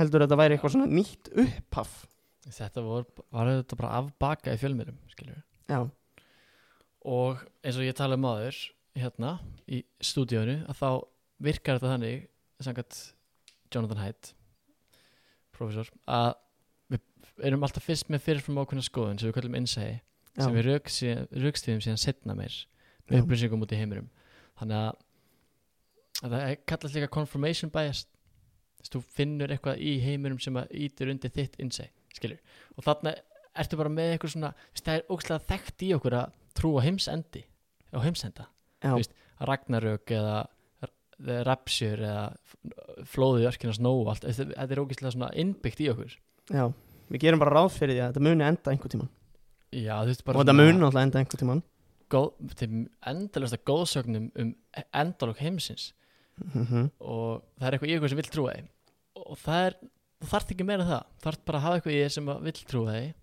S3: heldur að þetta væri eitthvað svona nýtt upphaf
S2: Þetta vor, var þetta bara afbaka í fjölmiðlum skilur við.
S3: já,
S2: Og eins og ég tala um aður hérna í stúdíónu að þá virkar þetta þannig samkvæmt Jonathan Haidt professor að við erum alltaf fyrst með fyrirfram ákveðna skoðun sem við kallum innsæði
S3: já,
S2: sem við rauk síðan- rökstyðum síðan setna meir
S3: Já.
S2: með upplýsingum út í heimurum þannig að að það er- kallast líka confirmation bias Þess, þú finnur eitthvað í heimurum sem að ítur undir þitt innsæ skilur, og þarna ertu bara með eitthvað svona, þess, það er ógstlega þekkt í okkur að trúa heimsendi á heimsenda,
S3: já,
S2: veist, ragnarök eða rapsjur eða flóðið örkina snó allt, þetta þetta er ógstlega svona innbyggt í okkur
S3: já við gerum bara ráð fyrir því að þetta muni enda einhver tíma
S2: Já, þú veist bara
S3: og þetta
S2: svona-
S3: mun náttúrulega enda einhvern tímann
S2: góð, til endalasta góðsögnum um endalok heimsins
S3: mm -hmm.
S2: og það er eitthvað í eitthvað sem vill trúa þeim og það er, þú þarft ekki meira en það þú þarft bara að hafa eitthvað í þeir sem að vill trúa þeim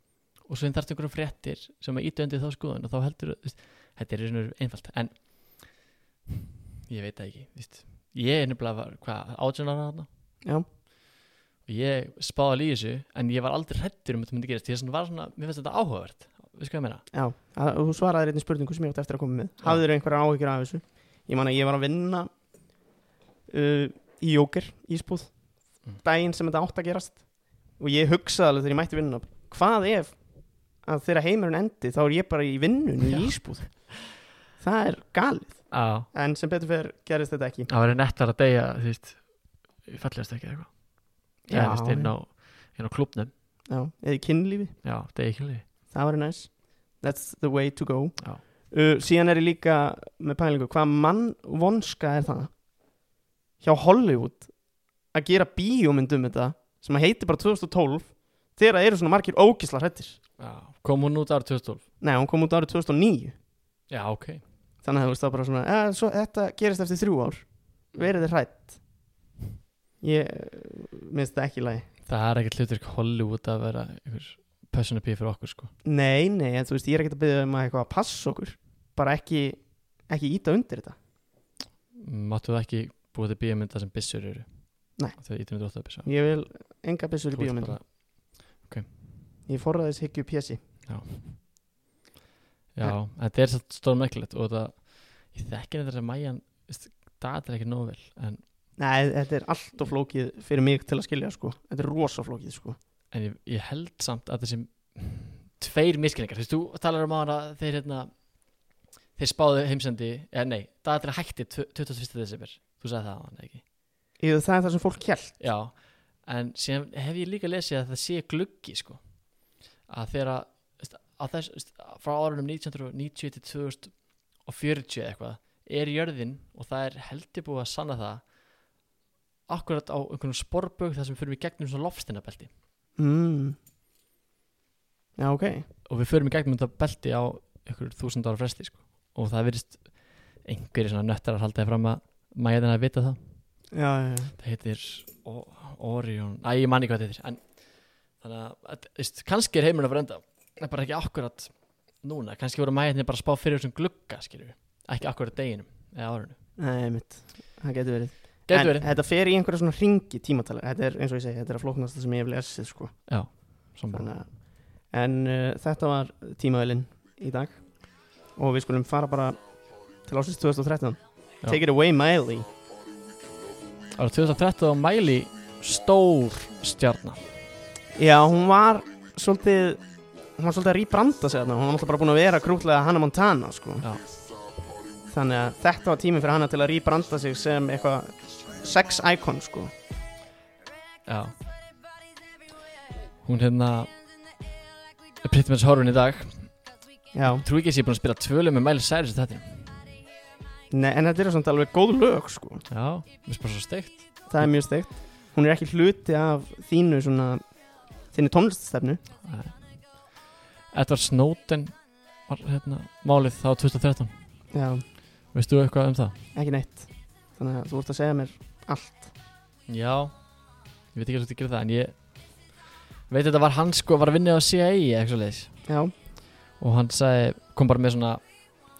S2: og svo þarft einhverjum fréttir sem að íta undir þá skoðun og þá heldur þetta er í raun og veru einfalt en ég veit það ekki víst. ég er nefnilega var, hvað, átjónana þarna
S3: Já.
S2: og ég spáði líði þessu en ég var aldrei hrættur um að þetta myndi gerast ég svona var svona, mér finnst þetta áhugavert við sko ég meina
S3: Já, að, þú svaraði einni spurningu sem ég átti eftir að koma með Hafið þér einhverjar áhyggjur af þessu? Ég man að ég var að vinna uh, í Jóker, Ísbúð
S2: Mm.
S3: daginn sem þetta átt að gerast og ég hugsaði alveg þegar ég mætti vinna hvað ef að þegar heimurinn endi þá er ég bara í vinnunni
S2: Já.
S3: í Ísbúð Það er galið
S2: á,
S3: En sem betur fer gerist þetta ekki
S2: það verður nettar að deyja þú veist, fallegast ekki eitthvað já, þú veist, inn á, inn á klubnum
S3: já, eða í kynlífi
S2: já, deyja ekki leið
S3: Það var næs That's the way to go
S2: Já.
S3: uh, Síðan er ég líka með pælingu Hvað mann vonska er það Hjá Hollywood Að gera bíómynd um þetta Sem að heiti bara 2012 Þegar það eru svona margir ógisla hrættir
S2: já. kom hún út ára 2012
S3: Nei, hún kom út árið 2009
S2: já, ok,
S3: Þannig að þú veist það bara svona eh, svo, Þetta gerist eftir þrjú ár Verið þið hrætt Ég eh, minnst þetta ekki í lagi
S2: það er ekkert hlutur Hollywood að vera ykkur personu pí fyrir okkur sko
S3: Nei, nei, en þú veist, ég er ekkert að byggja um að eitthvað að passa okkur Bara ekki, ekki íta undir þetta
S2: máttu það ekki búið til bíamynda sem byssur eru
S3: Nei.
S2: Þegar ítum við dróttu upp
S3: Ég vil enga byssur í
S2: Þú ert
S3: bíómyndum
S2: bara-
S3: Ég forraðis hyggju pjessi
S2: Já, þetta er satt stórmerkilegt og þetta, ég þekki þetta sem mæjan datir ekki nógu vel en,
S3: Nei, þetta er allt of flókið fyrir mig til að skilja sko Þetta er rosa flókið sko
S2: en ég, ég held samt að þessi tveir miskinningar, þú veist, þú talar um ára þeir hérna þeir spáðu heimsendi, eða nei, datir hætti tv- 21. desember, þú sagði það á hann ekki
S3: Ég, Það er það sem fólk hjælt
S2: Já, en síðan hef ég líka lesið að það sé gluggi sko að þegar að, veist, að þess, veist, frá árunum 1990 til 2040 eða eitthvað er jörðin og það er heldur búið að sanna það akkurat á einhvern sporbögg þar sem fyrir við gegnum svona lofstinabelti
S3: mm. Já, ok
S2: og við förum í gegnum þetta belti á einhverjum þúsund ára fresti sko. og það virðist einhverjir svona nöttar að halda þér fram að maður getur að vita það
S3: Já, já, já
S2: það heitir O- Orion Æ, ég manni hvað þetta heitir en, þannig að, að, veist, kannski er heimurinn að frenda það er bara ekki akkurat núna kannski voru mæðinni bara að spá fyrir þessum glugga skilur ekki akkurat deginum eða árinu
S3: Nei, mitt, það getur verið
S2: getur
S3: En
S2: verið,
S3: þetta fer í einhverja svona ringi tímatala Þetta er, eins og ég segi, þetta er að flóknast sem ég hef lesið sko
S2: sammála.
S3: Þannig að En uh, þetta var tímavelin í dag Og við skulum fara bara til ásins 2013
S2: Já.
S3: Take it away, Miley
S2: ára 2013 og Mæli stór stjarnar
S3: Já, hún var svolítið Hún var svolítið að rýbranda sig þarna Hún var náttúrulega bara búin að vera krútlega Hannah Montana sko.
S2: Já.
S3: Þannig að þetta var tíminn fyrir hana til að rýbranda sig sem eitthvað sex icon sko.
S2: já hún hérna Pretty Man's Horfin í dag
S3: Já,
S2: trú ekki að ég sé búin að spila tvölu með Mæli Særis þetta
S3: Nei, en þetta eru samt alveg góð lög sko.
S2: já, mér spara svo steikt
S3: Það er mjög steikt Hún er ekki hluti af þínu svona þinni tónliststefnu
S2: Edward Snowden var hérna málið þá 2013
S3: Já,
S2: Veist þú eitthvað um það?
S3: ekki neitt Þannig að þú ert að segja mér allt
S2: Já Ég veit ekki hvað þú gerir það en ég veit að þetta var hann sko var að vinna á CIA eða eitthvað leis
S3: Já,
S2: og hann sagði, kom bara með svona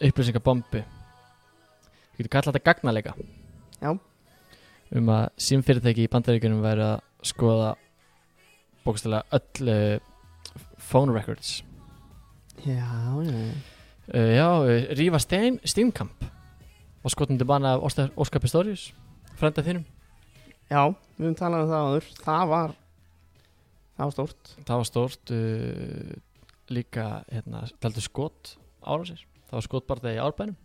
S2: upplýsingabombu Ég getur kallað þetta gagnalega
S3: Já.
S2: Um að símfyrirtæki í bandaríkunum væri að skoða bókstælega öll eh, phone records
S3: já, já
S2: Uh, já, uh, Rífa Stein, Steinkamp og skotum til bana af Ósta- Óskar Pistorius frenda þínum,
S3: Já, við höfum talað um það áður Það var Það var stórt
S2: það var stórt uh, líka, hérna, taldu skot árásir, það var skotbarða í árbænum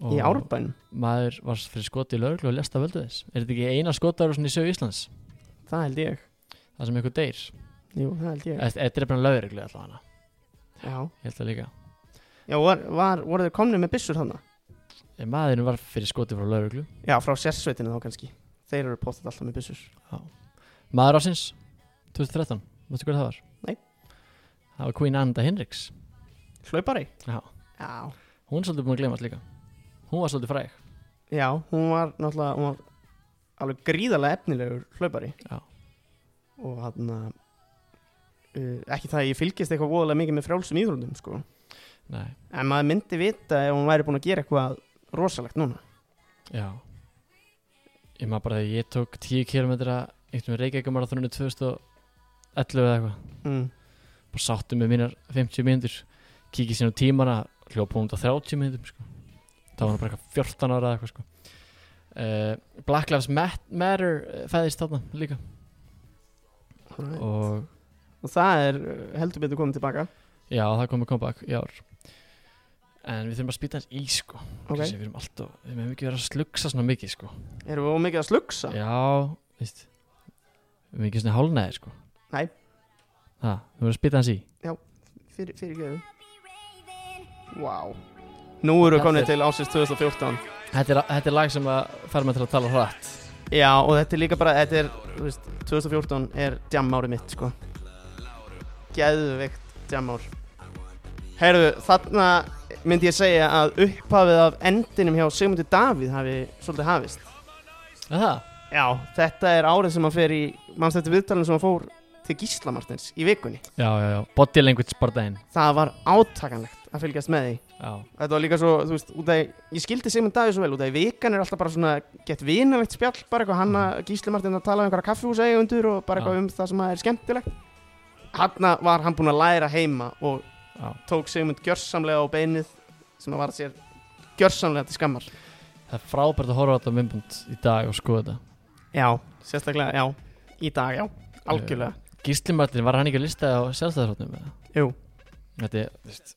S2: og
S3: Í árbænum
S2: maður var fyrir skoti í löglu og lest af völdu þess er þetta ekki eina skotarusin í sögu Íslands
S3: Það held ég
S2: það sem eitthvað deyr,
S3: Jú, það held ég
S2: eða þetta er bara lögreglu alltaf hana,
S3: Já,
S2: ég held það líka
S3: já var, var, voru þeir komnir með byssur þarna?
S2: Eh, maðurinn var fyrir skoti frá lögreglu
S3: Já, frá sérsveitinu þá kannski Þeir eru postið alltaf með byssur
S2: Maður ásins 2013, veistu hvað það var?
S3: Nei.
S2: Það var Queen Ananda Hinrichs
S3: Hlaupari?
S2: Já.
S3: Já,
S2: Hún er svolítið búin að glemast líka Hún var svolítið fræg
S3: já hún var náttúrulega Hún var alveg gríðarlega efnilegur hlaupari
S2: Já.
S3: Og hann uh, Ekki það að ég fylgist eitthvað voðalega mikið með frjálsum íþróndum sko
S2: Nei,
S3: En maður myndi vita ef hún væri búin að gera eitthvað rosalegt núna
S2: já Ég maður bara að ég tók 10 km einhvern veginn reykjækumarathoninu 2011 eða eitthvað
S3: mm.
S2: Bara sáttum með mínar 50 mínútur Kikið sín á tímana Hljópa hún á 30 mínútum sko. Það var hann bara eitthvað 14 ára eða eitthvað sko. uh, Black Lives Mat- Matter eh, fæðist þarna líka
S3: og,
S2: Og
S3: það er uh, heldur betur komið tilbaka
S2: Já, það komið comeback í ár En við þurfum að spýta hans í sko
S3: Ok.
S2: Þessi, Við erum alltaf, við mögum ekki vera að slugsa svona mikið sko
S3: Erum við ómikið að slugsa?
S2: Já, veist Við erum ekki svona hálnaðir sko
S3: Nei.
S2: Ha, við erum að spýta hans í
S3: Fyrir, fyrir geðu Vá Nú eru við komið til ásins 2014
S2: Þetta er, þetta er lag sem að fara með til að tala hratt
S3: Já og þetta er líka bara Þetta er, þú veist, 2014 er jam árið mitt sko Geðveikt jam ár Herðu, þarna myndi ég segja að upphafið af endinum hjá Sigmundur Davíð hafi svolítið hafist
S2: Er Það,
S3: Já, þetta er árið sem hann fer í manns þetta viðtalinu sem hann fór til Gísla Martins í vikunni
S2: já, já, já, body language bardaðinn
S3: það var átakanlegt að fylgjast með því
S2: já,
S3: Þetta var líka svo, þú veist, út að ég, ég skildi Sigmund Davíð svo vel, út að í vikan er alltaf bara svona gett vinaveitt spjall, bara eitthvað hann að Gísli Martin að tala um einhverja kaffihúsa eigundur og bara
S2: Mm.
S3: eitthvað
S2: Já.
S3: um það sem er skemmtilegt Hanna var hann búinn að læra heima og
S2: já
S3: tók Sigmund gjörsamlega á beinið sem að var sér gjörsamlega til skammar
S2: Það er frábært að horfa á þetta myndbund í dag og skoða þetta
S3: Já, sérstaklega, já, í dag, já,
S2: Eh,
S3: algjörlega
S2: Gísli Martin, var hann ekki að lista á sjálfstæðarhóttnum?
S3: Jú,
S2: Þetta, er- veist,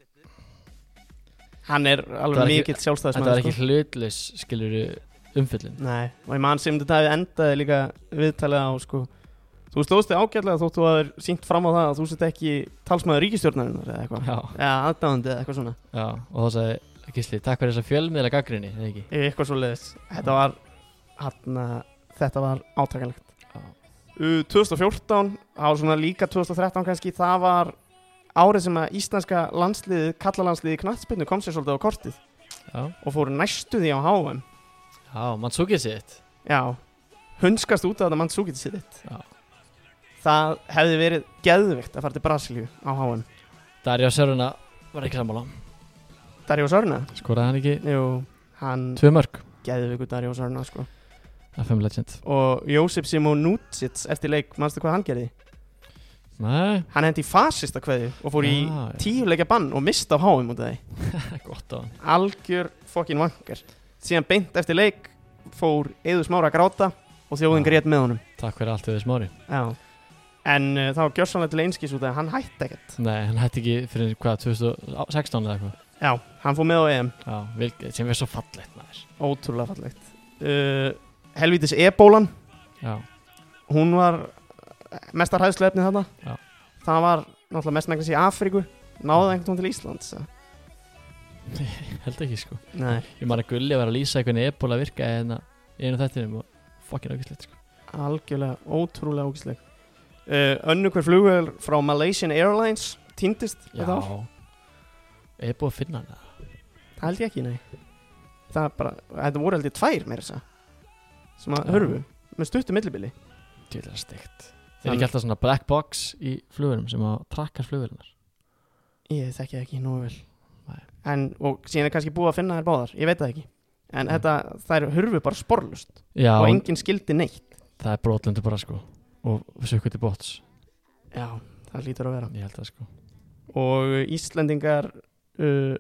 S3: hann er
S2: Þetta var
S3: alveg
S2: ekki-
S3: mikill
S2: þetta var
S3: sjálfstæðismæður
S2: ekki hlutlaus skilur umfyllin
S3: Nei, og ég mann sem þetta hefði endaði líka viðtalið á sko Þú stóðst þig ágætlega þótt þú hafðir sínt fram á það að þú sett ekki talsmaður ríkistjórnarinnar eða eitthvað
S2: Já,
S3: Já, aðdáðandi eða eitthvað svona
S2: já, og þá sagði Gísli, takk fyrir þessa fjölmiðla gaggrinni, eða ekki?
S3: Eitthvað svo leiðis Þetta var, hana, þetta var átakanlegt
S2: Já.
S3: Uh, 2014, á svona líka 2013 kannski, það var árið sem að íslenska landsliðið, kallalandsliðið knattspinnu kom sér svolítið á kortið
S2: Já,
S3: og fóru næstu því á HM
S2: já, mann súkið sitt
S3: Já, hunskast út af þetta Mandzukic sitt
S2: Já.
S3: Það hefði verið geðvikt að fara til Brasilíu á HM
S2: Darja Söruna var ekki sammála
S3: Darjó Sörna
S2: Skoraði hann ekki
S3: Jú, hann
S2: tvö mörg
S3: geðviku Darjó Sörna sko.
S2: FM Legend
S3: Og Jósef Simon Nutsits eftir leik, manstu hvað hann gerði?
S2: Nei,
S3: Hann hendi í fasista kveði og fór í
S2: Já, já.
S3: tíu leikja bann og mista á HM út af því
S2: [laughs] gott á hann
S3: algjör fokkin vankar síðan beint eftir leik fór Eður Smára að gráta og þjóðin
S2: Já.
S3: grét með honum
S2: Takk fyrir allt við þess mári
S3: Já. en uh, það var gjörsanlega til einskís út af því að hann hætti ekkert
S2: Nei, hann hætti ekki fyrir hvað, 2016 eða eitthvað
S3: Já, hann fór með á EM
S2: Já, vil, sem er svo fallegt maður
S3: Ótrúlega fallegt uh, Helvítis ebólan
S2: Já,
S3: Hún var mestar hæðslefni þarna
S2: Já.
S3: Það var náttúrulega mest megnast í Afríku Náði einhvern veginn til Íslands eða?
S2: held ekki sko
S3: Nei
S2: Ég man að Gulli var að lýsa hvernig ebola virkaði hérna í einu þættinum og fokkin ákvæmslegt sko.
S3: Algjörlega, ótrúlega ógisleg uh, Önnu hver flugvel frá Malaysian Airlines Týndist þetta ár
S2: Er búið að finna hana?
S3: Það held ég ekki, nei Það er bara, þetta voru held ég tvær meira þess að Sem að
S2: Já.
S3: hörfu Með stuttu millibili
S2: Tjóðlega steikt Er ekki alltaf svona black box í flugurum sem að trakkar flugurinnar?
S3: Ég þekki það ekki nú vel
S2: Nei.
S3: en, Og síðan er kannski búið að finna þær báðar Ég veit það ekki En
S2: Nei.
S3: þetta, þær hurfu bara sporlust
S2: Já,
S3: Og enginn skildi neitt
S2: það er brotlundu bara sko og sökkur til bots
S3: Já, það lítur að vera
S2: ég held það sko
S3: Og Íslendingar uh,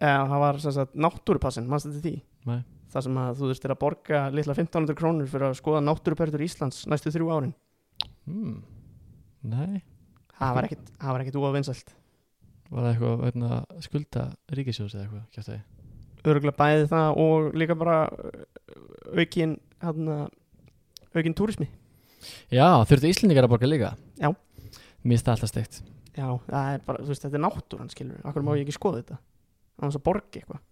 S3: eða, Það var sem sagt, náttúrupassin Manstu til því?
S2: Nei.
S3: Það sem að þú þurftir að borga litla 1500 krónur Fyrir að skoða náttúruperður Íslands næstu þrjú árin
S2: hmm. Nei,
S3: Það var ekkit, það var ekkit úavinsælt
S2: var það eitthvað vegna skulda ríkisjóðs eða eitthvað kjátt það
S3: Örgulega bæði það og líka bara uh, Aukin hana, Aukin túrismi
S2: Já, þurftu Íslendingar að borga líka?
S3: Já.
S2: Mér finnst það alltaf steikt
S3: Já, það er bara, þú veist, þetta er náttúran, skilur Akkur
S2: Mm.
S3: má ég ekki skoða þetta Það var að borga eitthvað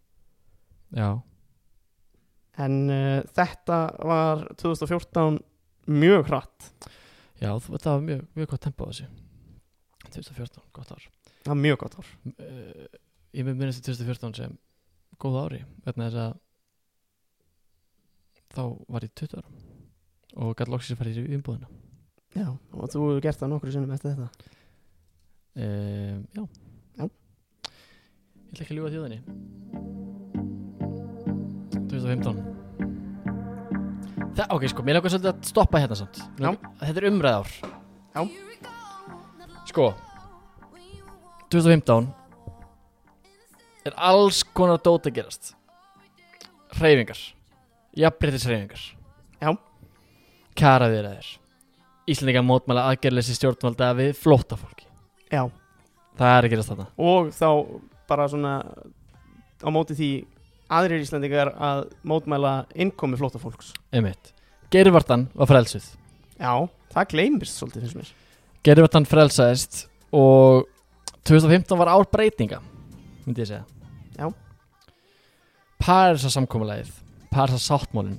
S2: Já,
S3: En uh, þetta var 2014 mjög hratt
S2: já þú- þetta var mjög, mjög gott tempo á þessu 2014, gott ár
S3: Það var mjög gott ár
S2: uh, Ég mun minnist til 2014 sem góð ári vegna þess að þá var ég 20 ára og gætt loksins að fara í umbúðina
S3: Já, og þú hefur gert það nokkru sinnum eftir þetta
S2: um, já.
S3: Já.
S2: Ég ætla ekki að ljúga þjóðinni 2015 Það, ok, sko, mér langar svolítið að stoppa hérna samt Mér
S3: Já.
S2: langar- Þetta er umræðár
S3: Já.
S2: Sko 2015 er alls konar dót að gerast Hreyfingar Jafnbreytis hreyfingar
S3: Já.
S2: Karaviðræðir Íslendinga mótmæla aðgerleysi stjórnvalda við flóttafólki
S3: Já,
S2: Það er að gerast þarna
S3: og þá bara svona á móti því aðrir Íslandingar að mótmæla innkomi flóta fólks
S2: Einmitt. Geirvartan var frelsuð
S3: Já, það gleymist svolítið finnst mér
S2: Geirvartan frelsaðist og 2015 var ár breytinga myndi ég segja
S3: Já.
S2: Parisa samkomulegið Parisa sáttmálin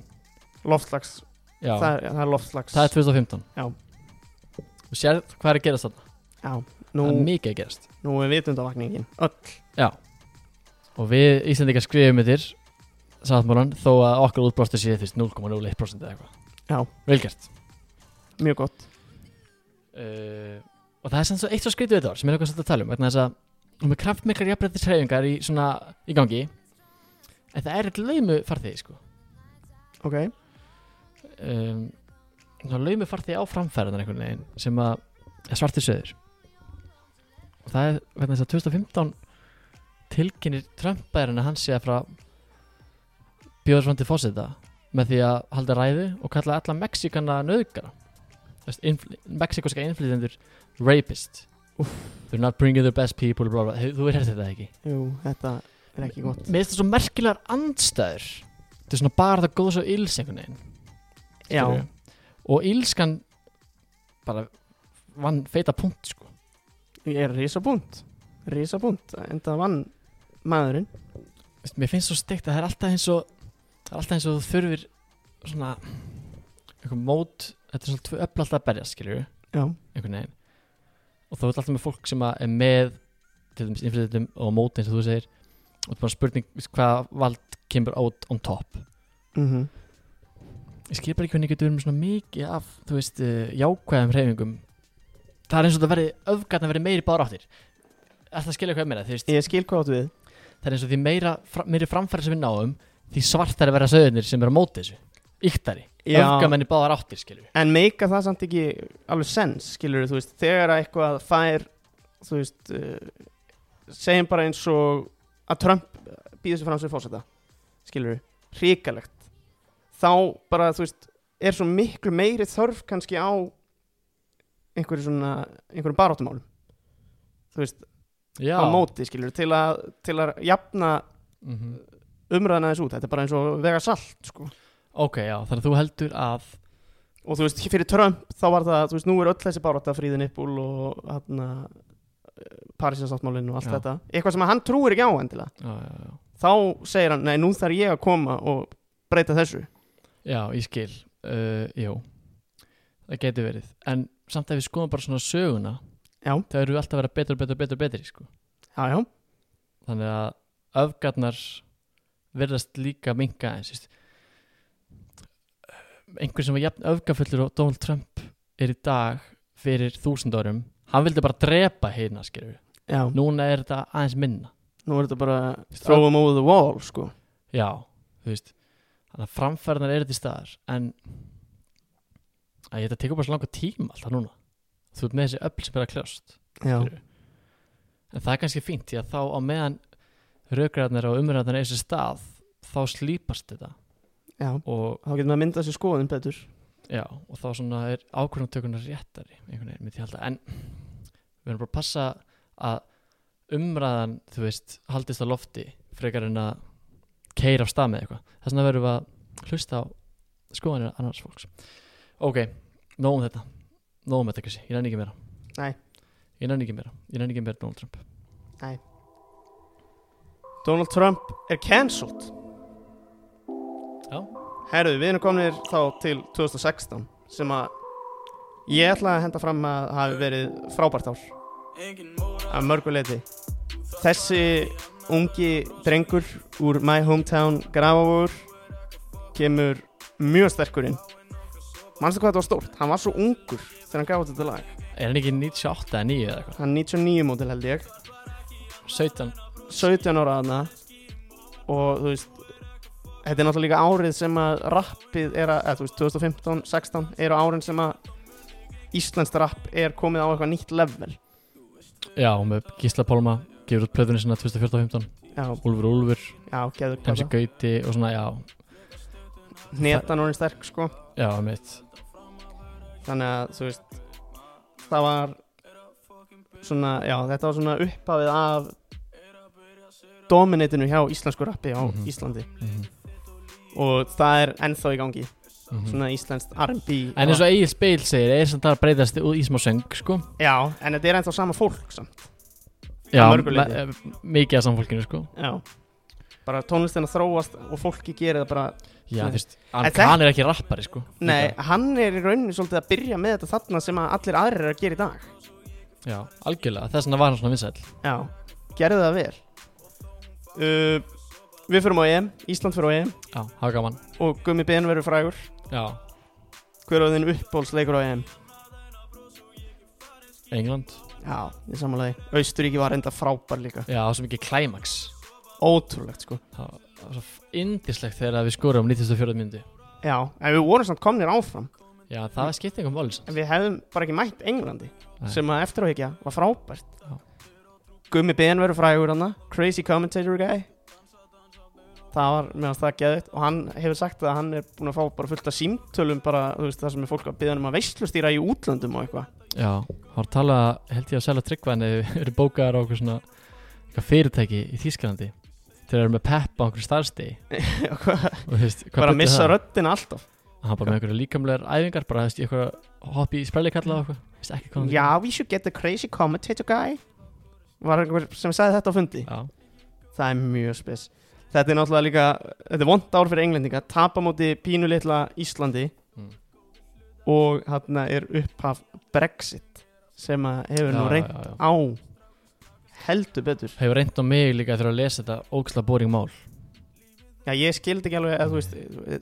S3: Loftslags,
S2: Já,
S3: það
S2: það,
S3: er, það er loftslags
S2: er 2015
S3: Já.
S2: Og sér hvað er að gerast þarna
S3: Já,
S2: Það er
S3: nú,
S2: mikið að gerast
S3: nú er vitundavakningin öll
S2: Já Og við Íslendingar skrifum yfir sáttmálan þó að okkar útbróstur sé því 0,01% eða eitthvað
S3: Já.
S2: Velgert
S3: Mjög gott
S2: Eh, uh, og það er sem svo eitt svo skrítið við þetta var sem er eitthvað svolítið að tala um vegna þess að og með kraftmiklar jafnbrettis hreyfingar í, svona, í gangi en það er eitthvað laumu farþegi sko
S3: ok
S2: um, svona laumi farþegi á framferðan einhvern veginn sem að er svartir söður og það er vegna þess að 2015 tilkynir Trump-bærin að hann sé að fara að bjóða svona til fósita með því að halda ræðu og kalla alla Mexikana nöðgara infl Mexikoska innflytendur rapist they're not bringing their best people blah, blah. Hefur- þú er þetta ekki
S3: Jú, þetta er ekki gott
S2: mér finnst það svo merkilegar andstæður þetta er svona bara það góðs og ills einhvern veginn
S3: Já,
S2: skilurðu. og ílskan bara vann feita punkt sko.
S3: ég er risabúnt Risabúnt, en það vann maðurinn
S2: Veist, mér finnst svo steikt að það er alltaf eins og það er alltaf eins og þú þurfir svona einhver mót, þetta er svona tvö öfl alltaf að berja skilur
S3: Já,
S2: einhvern veginn og þá er alltaf með fólk sem að er með til dæmis innflytjum og á móti eins og þú segir og það er bara spurning veist, hvað vald kemur át on top
S3: mm
S2: ég skil bara ekki hvernig getur verið með svona mikið af þú veist, uh, jákvæðum hreyfingum það er eins og það verði öfgarn að verði meiri bára áttir er það að skilja hvað ég meina, þú veist
S3: ég skil hvað áttu við
S2: það er eins og því meira, fra, meiri framfæri sem við náum því svartari verða söðunir sem eru á móti þessu yktari,
S3: Já.
S2: öfgamenni báðar áttir skilju
S3: En meika það samt ekki alveg sens, skilur þú veist, þegar að eitthvað fær, þú veist, uh, segjum bara eins og að Trump býður sér fram sem fórseta, skilur þú, hrikalegt. Þá bara, þú veist, er svo miklu meiri þörf kannski á einhverju svona, einhverjum baráttumálum, þú veist,
S2: já,
S3: á móti, skilur til að, til að jafna
S2: mm
S3: umræðan aðeins út, þetta er bara eins og vega salt, sko.
S2: ok, já, þannig að þú heldur að
S3: og þú veist, fyrir Trump þá var það, þú veist, nú er öll þessi barátta fríðin uppúl og hann Parísasáttmálinn og allt
S2: Já.
S3: þetta eitthvað sem að hann trúir ekki á endilega
S2: já, já, já,
S3: þá segir hann, nei, nú þarf ég að koma og breyta þessu
S2: já, ég skil uh, jú, það getur verið en samt að við skoðum bara svona söguna
S3: Já.
S2: það eru alltaf að vera betur, betur, betur, betur sko
S3: já, já,
S2: þannig að öfgarnar verðast líka minka eins veist. einhver sem var jafn öfgafullur og Donald Trump er í dag fyrir þúsund árum hann vildi bara drepa hérna skilur
S3: já, nú,
S2: núna er þetta aðeins minna
S3: er þetta bara
S2: Veist,
S3: throw him over the wall, sko
S2: já, þú veist þannig að framferðnar er þetta í staðar en að ég þetta tekur bara svo langa tíma alltaf núna þú ert með þessi öll sem er að kljást
S3: já,
S2: Skilurðu. en það er kannski fínt því að þá á meðan rökræðnar og umræðnar er þessi stað þá slípast þetta
S3: já,
S2: og,
S3: þá getur maður að mynda sér skoðin betur
S2: já, og þá svona er ákvörðumtökunar réttari einhvern veginn, myndi ég halda en við erum bara að passa að umræðan, þú veist, haldist á lofti frekar en að keira af stað með eitthvað, þess vegna verðum við að hlusta á skoðanir annars fólks ok, nóg um þetta nóg um þetta Krissi, ég nenni ekki meira
S3: Nei.
S2: ég nenni ekki meira, ég nenni ekki meira Donald Trump
S3: Donald Trump er cancelled
S2: Já.
S3: Herðu, við erum kominir þá til 2016 sem að ég ætla að henda fram að hafi verið frábært ár að mörgu leiti Þessi ungi drengur úr My Hometown Grafavur kemur mjög sterkur inn Manstu hvað þetta var stórt? Hann var svo ungur þegar hann gaf út þetta lag
S2: er hann ekki 98 eða 9 eða eitthvað
S3: Hann er 99 mótil held ég
S2: 17
S3: 17 ára aðna og þú veist þetta er náttúrulega líka árið sem að rappið er að, eða, þú veist, 2015, 16 eru árin sem að Íslands rapp er komið á eitthvað nýtt level
S2: Já, með Gísla Pálma gefur út plöðunni sinna 2014-15
S3: já,
S2: Úlfur Úlfur,
S3: já, geður
S2: MC
S3: hvað
S2: Gauti og svona, já,
S3: netan orðin sterk sko
S2: já, mitt
S3: þannig að þú veist það var svona, já, þetta var svona upphafið af dominatinu hjá íslensku rappi á
S2: Mhm.
S3: Íslandi
S2: mm
S3: og það er ennþá í gangi
S2: Mhm.
S3: svona íslenskt R&B
S2: En eins og Egil Speil segir, er samt það að breytast úr í smá söng, sko
S3: já, en þetta er ennþá sama fólk samt
S2: Já,
S3: mörgu leyti.
S2: me- eh, mikið af samfólkinu, sko
S3: Já Bara tónlistina þróast og fólki gerir það bara
S2: Já,
S3: Nei.
S2: þú veist, hann,
S3: þetta-
S2: hann er ekki rappari, sko
S3: Nei,
S2: Líka.
S3: hann er í rauninni svolítið að byrja með þetta þarna sem að allir aðrir er að gera í dag
S2: Já, algjörlega, þess vegna var hann svona vinsæll
S3: Já, gerðu það vel uh, Við förum á EM, Ísland fyrir á EM
S2: Já, hafa gaman
S3: og Gummi Ben verður frægur
S2: Já,
S3: Hver á þinn uppbólsleikur á EM?
S2: England
S3: Já, ég samanlega Austuríki var enda frábær líka
S2: Já, það var svo mikið klæmaks
S3: Ótrúlegt sko
S2: Það það var svo indislegt þegar við skorum 94. myndi
S3: Já, en við vorum samt komnir áfram
S2: Já, það um skipti einhver máli samt.
S3: En við hefðum bara ekki mætt Englandi
S2: Nei.
S3: Sem að eftir á higgja var frábært
S2: Já.
S3: Gummi Ben verður frægur hana Crazy commentator guy Það var meðan það geðið Og hann hefur sagt að hann er búin að fá bara fullt af símtölum Bara þú veist það sem er fólk að byggja um að veislustýra í útlöndum og eitthvað [laughs]
S2: Já, það var talað, held ég að selja tryggvæðan eða við erum bókaðar á okkur svona eitthvað fyrirtæki í Þýskalandi þegar við erum með peppa á okkur starfstegi
S3: Já, hvað-
S2: og þú veist, hvað
S3: Bara að
S2: buddi
S3: missa
S2: það?
S3: röddina alltaf
S2: Hann var bara með einhverju líkamlegar æfingar bara, þú veist, eitthvað að hoppa í sprellikalla og eitthvað Þú veist, ekki hvað hann-
S3: Já, we should get the crazy commentator guy Var einhver sem sagði þetta á fundi
S2: Já,
S3: Það er mjög spes Þetta er náttúrulega líka, þetta er vond ár fyrir englendinga Tapa móti pínu litla Íslandi
S2: Mm.
S3: Og þarna er upphaf Brexit Sem að hefur nú
S2: Já,
S3: reynt
S2: já, já.
S3: á Heldur betur
S2: hefur reynd á mig líka þegar að lesa þetta ógslag boring mál
S3: Já, ég skildi ekki alveg að þú veist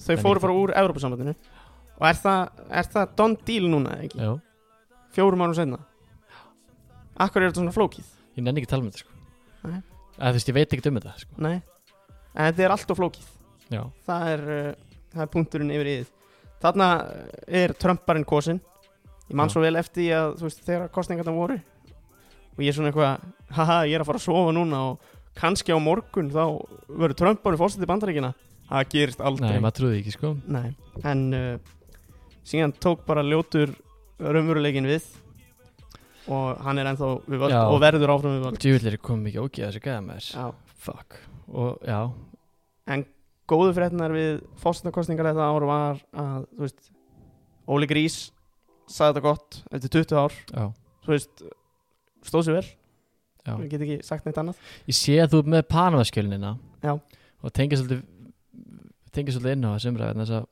S3: Þau
S2: En
S3: fóru
S2: ekki
S3: bara úr Evrópusambandinu Og er það, er það don deal núna eða ekki?
S2: Já,
S3: Fjórum árum senna Akkur er þetta svona flókið?
S2: ég nenni ekki að tala um þetta sko.
S3: Nei.
S2: Eða, Þú veist, ég veit ekki um þetta sko.
S3: Nei En þetta er allt og flókið
S2: Já,
S3: það er, uh, það er punkturinn yfir yfir þarna uh, er Trumparinn kosin ég man
S2: Já.
S3: svo vel eftir því að þú veist þegar kostningarna voru og ég er svona eitthvað haha ég er að fara að sofa núna og kannski á morgun þá verður Trumparinn fórsetið bandaríkina það gerist aldrei
S2: nei, maður trúði ekki sko.
S3: Nei, en uh, síðan tók bara ljótur raunveruleikin við og hann er ennþá við völd
S2: Já.
S3: og verður áfram við völd
S2: Djúvillir kom mikið ógið þessu gæða með þess
S3: Já.
S2: Fuck Og já,
S3: góðu fréttinar við fórsetakostningar þetta ár var að þú veist, Óli Grís sagði þetta gott eftir 20 ár
S2: já,
S3: þú veist, stóð sér vel
S2: já
S3: við getum ekki sagt neitt annað
S2: Ég sé að þú er með Panamaskjölinina
S3: Já.
S2: Og tengja svolítið Tengja svolítið inn á þessum ræðin Þess að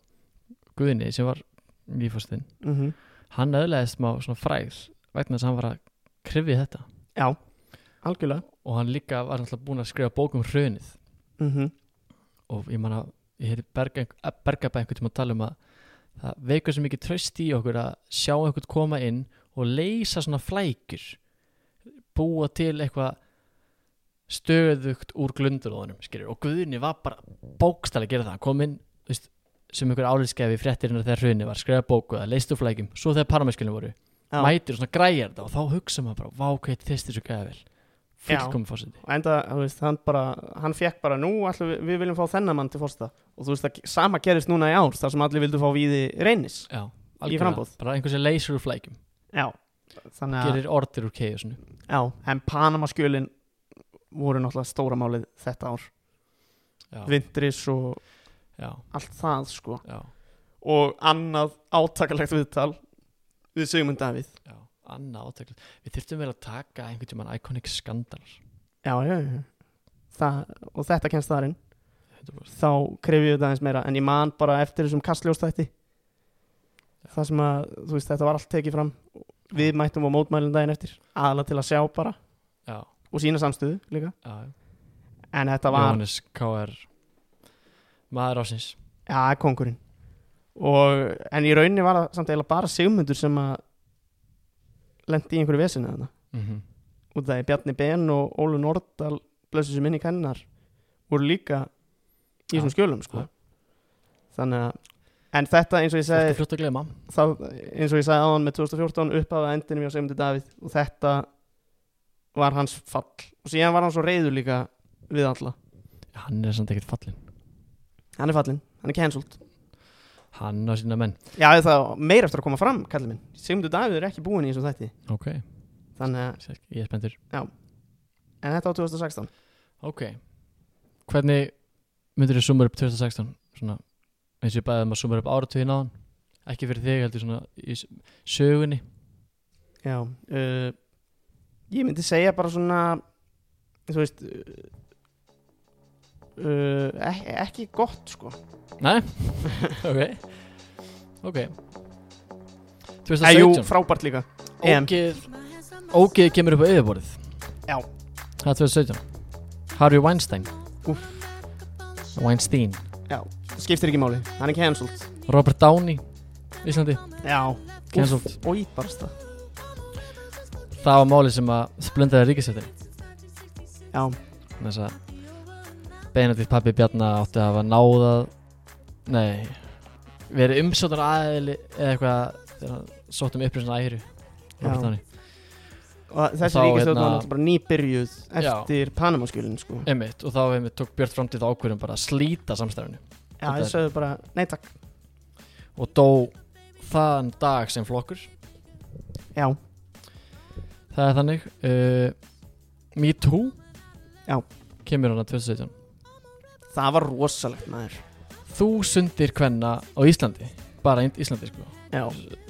S2: Guðni sem var Nýfóstinn
S3: mm -hmm.
S2: Hann öðlaðist smá svona fræð Vegna þess að hann var að krifja þetta
S3: já, algjörlega
S2: Og hann líka var alltaf búin að skrifa bók um hrunið
S3: mm
S2: Mhm. og ég man að ég heyrði Berga, Bergabæ einhvern tíma að tala um að það veikur sem ekki tröst í okkur að sjá einhvern koma inn og leysa svona flækjur búa til eitthvað stöðugt úr glundurðunum skilur og Guðni var bara bókstæli að gera það, hann kom inn þú veist, sem einhver álitskefi í fréttirinnar þegar hrunni var skrifa bóku eða leyst úr flækjum, svo þegar parmæskilin voru
S3: Já.
S2: mætir og svona græjar það og þá hugsa maður bara, vá hvað þetta þessi svo gæða vel
S3: Já.
S2: fullkomi fórseti,
S3: og enda, þú veist, hann bara hann fekk bara nú, allir, við, við viljum fá þennan mann til fórseta og þú veist, það sama gerist núna í ár þar sem allir vildu fá víði reynis
S2: já,
S3: framboð.
S2: bara einhversi leysur úr flækjum
S3: já, þannig að
S2: gerir orðir úr keiðusinu
S3: já, en Panamaskjölin voru náttúrulega stóra málið þetta ár
S2: Já.
S3: vindris og
S2: já,
S3: allt það sko
S2: já,
S3: og annað átakalegt viðtal við Sigmund Davíð
S2: já, annað átökl við þurftum vel að taka einhvern tímann iconic skandalar
S3: já, já, já. Það, og þetta kemst þar inn
S2: 100%.
S3: þá krefjum við þetta aðeins meira en ég man bara eftir þessum kastljóstætti það sem að þú veist þetta var allt tekið fram við mættum á mótmælum daginn eftir aðla til að sjá bara
S2: já,
S3: og sína samstöðu líka
S2: já,
S3: en þetta var
S2: Jóhannes K.R. maður ásins
S3: Já, kongurinn og, En í rauninni var það samt eiginlega bara Sigmundur sem að lendi í einhverju vesinu þarna
S2: mm
S3: út af því að Bjarni Ben og Ólu Nordal blössu sem inn í kennar voru líka í
S2: Já.
S3: þessum skjölum sko.
S2: Já.
S3: Þannig að En þetta eins og ég
S2: þetta er
S3: segi
S2: fljótt að glema
S3: þá, eins og ég segi áðan með 2014 upphafa endinum hjá Sigmundur Davíð og þetta var hans fall og síðan var hann svo reyður líka við alla
S2: hann er samt ekkert fallin,
S3: Hann er fallin, hann er cancelled
S2: hann á sína menn
S3: Já, það er meira eftir að koma fram, kallið minn. Sigmundur Davíð er ekki búin í þessum þætti.
S2: ok,
S3: Þannig að,
S2: sér- ég er spenntur
S3: en þetta á 2016.
S2: ok, hvernig myndir þú summa upp 2016 svona, eins og ég bæði um að summa upp áratugin á hann ekki fyrir þig heldur svona í s- sögunni
S3: Já. Uh, ég myndi segja bara svona, þú veist, uh, uh, ekki, ekki gott, sko. [laughs]
S2: Nei, ok Ok
S3: Eh, jú,
S2: 2017
S3: frábært líka. EM.
S2: Ógeð Ógeð kemur upp á yfirborðið
S3: Já.
S2: Það er 2017 Harvey Weinstein
S3: Úff.
S2: Weinstein
S3: Já, það skiptir ekki máli. Hann er cancelled.
S2: Robert Downey Íslandi
S3: Já.
S2: Cancelled.
S3: Úf, og íbarsta.
S2: það var máli sem að splundaði ríkisjöldin
S3: Já,
S2: þess að Benedikt pappi Bjarna átti að hafa náðað nei verið umsjóttan aðeili eða eitthvað þegar hann sótt um upprýsna æru
S3: Já.
S2: þannig
S3: og þessi
S2: Þá,
S3: ríkistjórn var
S2: hérna-
S3: náttúrulega bara nýbyrjuð
S2: Já.
S3: eftir Panamaskjölinn sko.
S2: einmitt og þá einmitt tók Björn framtíð ákvörðum bara að slíta samstæðinu
S3: Já, þeir
S2: er-
S3: sögðu bara, nei takk
S2: og dó þann dag sem flokkur
S3: Já,
S2: það er þannig uh, Me Too
S3: Já.
S2: kemur hann að 2017
S3: það var rosalegt maður
S2: þúsundir kvenna á Íslandi bara einn Íslandi sko
S3: Já,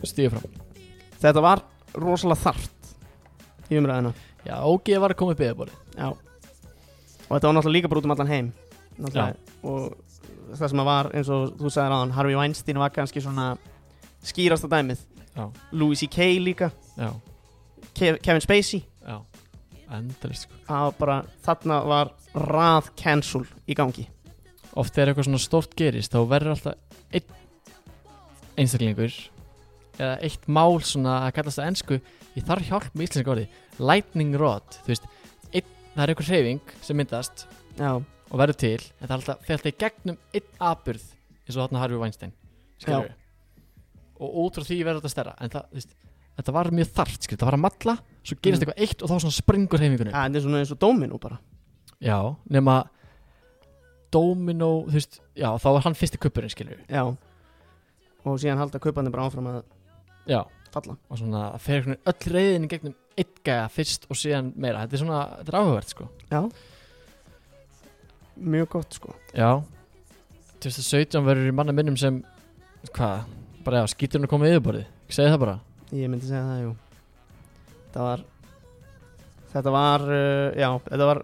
S2: stíðu fram
S3: þetta var rosalega þart í umræðina
S2: já OG var að koma upp eða bóli
S3: Já Og þetta var náttúrulega líka bara út um allan heim náttúrulega. Og það sem að var, eins og þú sagðir aðan Harvey Weinstein var kannski svona skýrasta dæmið
S2: Já.
S3: Louis C.K. líka,
S2: já
S3: Kev Kevin Spacey
S2: Já, endalist sko
S3: Það var bara, þarna var rað cancel í gangi
S2: Oft þegar eitthvað svona stórt gerist þá verður alltaf einn einstaklingur eða eitt mál svona að kallast það ensku ég þarf hjálp með íslenska orði lightning rod, þú veist einn, það er einhver hreyfing sem myndast
S3: Já,
S2: og verður til en það er alltaf, fer alltaf í gegnum einn aburð eins og þarna Harvey Weinstein skilurðu. og út frá því verður þetta stærra en það, þú veist, þetta var mjög þart skilur, það var að matla, svo gerist
S3: Mm.
S2: eitthvað eitt og þá svona springur hreyfingunum
S3: það er svona eins og dóminu bara
S2: Já, nema Domino, þú veist, já, þá var hann fyrsti kuppurinn, skilur við.
S3: Já Og síðan halda kaupandi bara áfram að
S2: Já,
S3: falla
S2: og svona það fer einhvern veginn öll reyðin í gegnum einn gæja fyrst og síðan meira. Þetta er svona, þetta er áhugavert, sko.
S3: Mjög gott sko
S2: Já. 2017 verður í manna minnum sem, hvað, bara já, skíturinn að koma í yfirborðið. Segði það bara.
S3: Ég myndi segja það, jú Þetta var Þetta var, uh, já, þetta var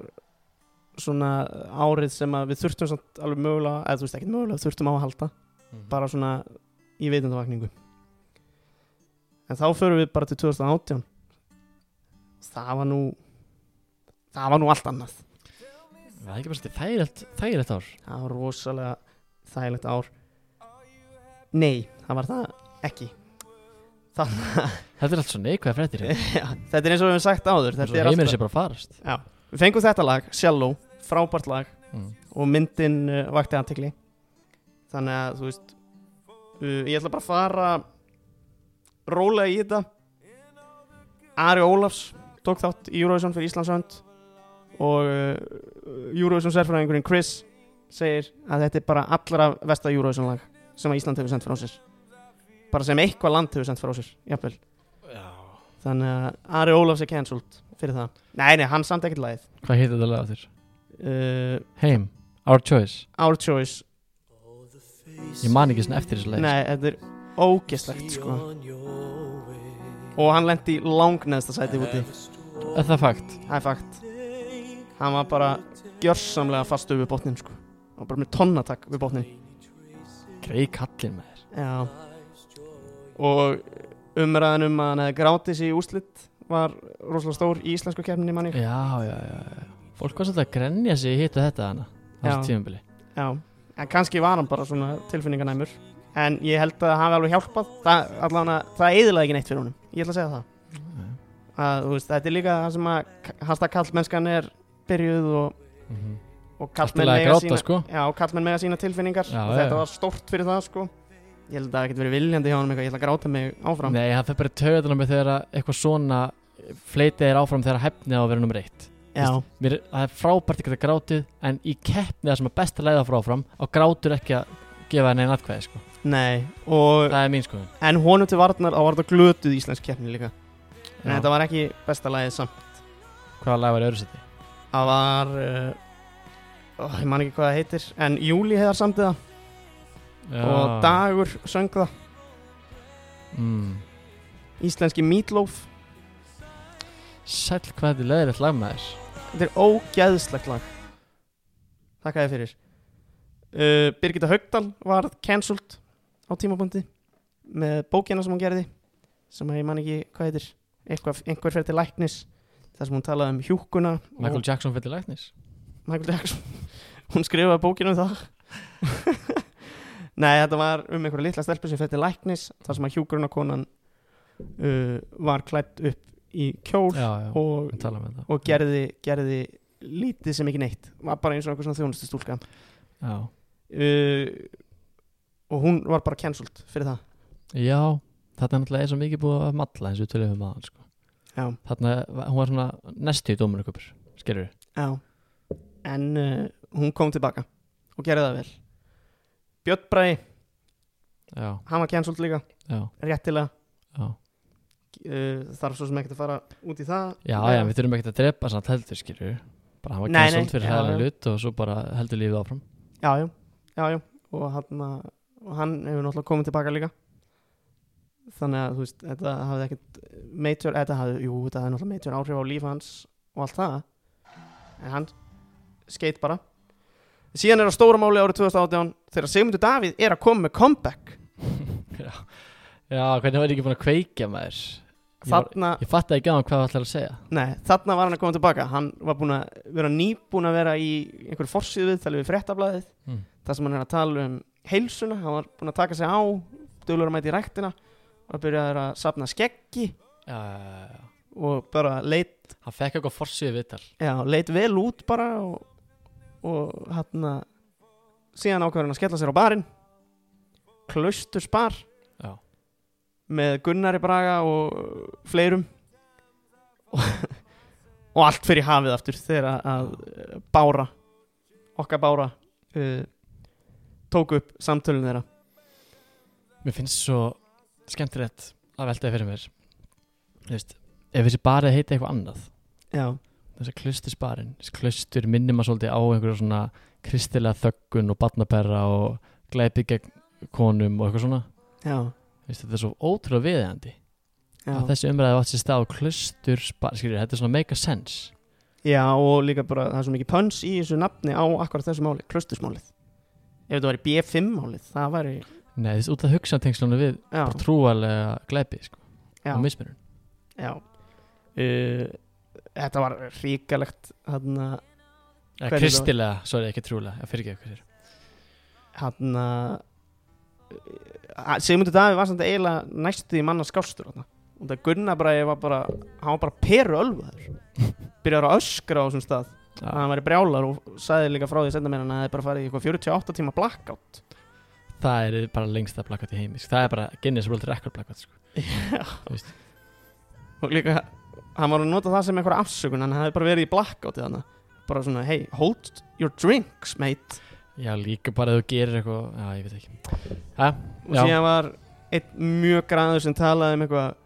S3: svona árið sem að við þurftum samt alveg mögulega, eða þú veist ekkert mögulega þurftum á að halda,
S2: Mhm.
S3: bara svona í veitundavakningu En þá förum við bara til 2018 Það var nú það var nú allt annað
S2: Það er ekki bara svolítið þægilegt, þægilegt ár.
S3: Það var rosalega þægilegt ár Nei, það var það ekki Þannig að
S2: Þetta er allt svo neikvæða fréttir. hérna.
S3: [laughs] Já, Þetta er eins og við höfum sagt áður
S2: [laughs] Þetta
S3: Þetta
S2: er
S3: er
S2: heimurinn
S3: alltaf
S2: sem bara farast.
S3: Já, við fengum þetta lag, Shallow, frábært lag
S2: Mm.
S3: og myndin uh, vakti aðtekli þannig að þú veist uh, ég ætla bara að fara rólega í þetta Ari Ólafs tók þátt í Eurovision fyrir Íslandsönd og uh, Eurovision sérfræðingurinn Chris segir að þetta er bara allra versta Eurovision lag sem að Ísland hefur sendt frá sér bara sem eitthvað land hefur sendt frá sér jafnvel þannig að Ari Ólafs er cancelled fyrir það nei, nei, hann samt ekkert lagið
S2: Hvað heitir þetta lega þér?
S3: uh,
S2: Heim, Our Choice.
S3: Our Choice
S2: Ég man ekki svona eftir þessu leið.
S3: Nei, þetta er ógeslegt sko Og hann lendi langneðsta sæti úti
S2: Er það fakt?
S3: Það er fakt Hann var bara gjörsamlega fastu við botnin sko Hann var bara með tonnatak við botnin
S2: Grei kallinn með þér.
S3: Já Og umræðan um að hann hefði grátið sér í úslit Var rosalega stór í íslensku keppninni manni
S2: já, já, já já. Fólk var svolítið að grenja sig í hitt og þetta hana á
S3: Já.
S2: þessu tímabili
S3: Já En kannski var hann bara svona tilfinninganæmur En ég held að það hafi alveg hjálpað Það, allan að það eðilaði ekki neitt fyrir honum Ég ætla að segja það
S2: Mhm.
S3: að, þú veist, þetta er líka það sem að hasta kallmennskan er byrjuð og,
S2: Mhm.
S3: og
S2: Allt í
S3: kallmenn
S2: lagi að
S3: mega
S2: gráta
S3: sína
S2: sko
S3: já, og kallmenn mega sína tilfinningar
S2: Já,
S3: og
S2: já,
S3: þetta
S2: já.
S3: var stórt fyrir það sko ég held að það hafi ekkert verið viljandi hjá honum eitthvað, ég ætla að gráta mig áfram
S2: Nei, það fer bara í taugarnar á mig þegar að eitthvað svona fleitið er áfram þegar að hefnið á að vera nummer eitt
S3: já,
S2: Mér, það er frábært ekki að geta grátið en í keppnið það sem er best að leiða frá áfram og grátur ekki að gefa henni einn atkvæði sko
S3: nei og,
S2: Það er mín skoðun
S3: en honum til varnar þá var þetta glötuð íslensk keppni líka en
S2: Já.
S3: þetta var ekki besta lagið samt
S2: Hvaða lag var í öðru seti?
S3: það var uh, ó, ég man ekki hvað það heitir en Júli hefðar samt það og Dagur söng það
S2: mm.
S3: íslenski Meatloaf
S2: Sæll hvað þetta er leiðilegt lag með þér
S3: Þetta er ógæðslegt lag Takk að þið fyrir uh, Birgitta Haugdal var cancelled á tímabundi með bókina sem hún gerði sem að ég man ekki hvað heitir Eitthvað, einhver fyrir til læknis þar sem hún talaði um hjúkuna
S2: Michael Jackson fyrir læknis
S3: og Michael Jackson [laughs] hún skrifaði bókina um það [laughs] Nei, þetta var um einhverja litla stelpu sem fyrir til læknis þar sem að hjúkuruna konan uh, var klætt upp í kjól
S2: já, já,
S3: og,
S2: við tala um með það
S3: og gerði, gerði lítið sem ekki neitt var bara eins og einhver svona þjónustustúlka
S2: já,
S3: uh, og hún var bara cancelled fyrir það
S2: já þetta er náttúrulega eins og mikið búið að matla eins og við töluðum um aðan sko.
S3: Já.
S2: þarna, var- hún var svona næstu í dómurköpur skilur
S3: Já. en uh, hún kom tilbaka og gerði það vel Björn Bræði,
S2: já,
S3: hann var cancelled líka
S2: já,
S3: réttilega
S2: já
S3: uh, þarf svo sem ekkert að fara út í það
S2: Já, já, við þurfum ekkert að drepa samt heldur, skilju bara hann var
S3: Nei, nei,
S2: cancelled fyrir
S3: já,
S2: hæðan
S3: já.
S2: hlut og svo bara heldur lífið [laughs] áfram
S3: já, já, já, já. Og, hann, og hann hefur náttúrulega komið tilbaka líka þannig að þú veist þetta hafði ekkert major, þetta hafði, jú, þetta hafði náttúrulega major áhrif á líf hans og allt það en hann skeitt bara síðan er á stóra máli árið 2018 þegar Sigmundur Davíð er að koma með comeback
S2: Já, hvernig var ég ekki búin að kveikja maður Ég var-
S3: þarna,
S2: Ég fatt ekki á hann hvað það ætlar að segja
S3: nei, þarna var hann að koma tilbaka hann var búin að vera nýbúin að vera í einhverju forsýðu við, við fréttablaðið
S2: Mm.
S3: þar sem hann er að tala um heilsuna, hann var búin að taka sig á dölur að mæta í ræktina og byrjaði að sapna skeggi
S2: Já, já, já, já
S3: og bara leit,
S2: Hann fekk eitthvað forsýðu viðtal
S3: já, leit vel út bara og, og hann að síðan ákveður hann að skella sér á barinn klaustursbar
S2: Já,
S3: með Gunnari Braga og fleirum og, og allt fyrir hafið aftur þegar að eh, Bára okkar Bára uh, tók upp samtölun þeirra
S2: mér finnst svo skemmtilegt að velta þér fyrir mér Þú veist, ef þessi barið heiti eitthvað annað
S3: já,
S2: þess að klustisbarinn þessi klustur minnir maður svolítið á einhverja svona kristilega þöggun og barnaperra og glæpi gegn konum og eitthvað svona
S3: já,
S2: Þú veist, Þetta er svo ótrúlega viðeigandi
S3: já.
S2: að þessi umræði átt sér stað á klustur skilur, þetta er svona make a sense
S3: já og líka bara það er svo mikið pöns í þessu nafni á akkurat þessu máli, klustusmálið ef þetta væri B5 málið, það væri
S2: Nei, þessi út af hugsantingslunum við
S3: já,
S2: bara trúarlega glæpi sko,
S3: já,
S2: og mismunum
S3: já uh, þetta var ríkalegt hann að
S2: eða
S3: Hvernig
S2: kristilega, sorry, ekki trúlega ég fyrir ekki eitthvað sér
S3: hann að eh, Sigmundur Davíð var samt eiginlega næstu í manna skástur hann og það Gunnar Bræði var bara hann var bara peru ölvaður [laughs] byrjar að öskra á þessum stað að hann væri brjálar og sagði líka frá því senda mér hann að það er bara farið í eitthvað 48 tíma blackout
S2: það er bara lengsta plakat í heimi sko. það er bara Guinness World Record plakat sko.
S3: og líka hann var að nota það sem einhverja afsökun hann hafði bara verið í blackout í þannig bara svona hey hold your drinks mate
S2: já, líka bara ef þú gerir eitthvað já, ég veit ekki ha?
S3: og
S2: Já.
S3: síðan var einn mjög græður sem talaði um eitthvað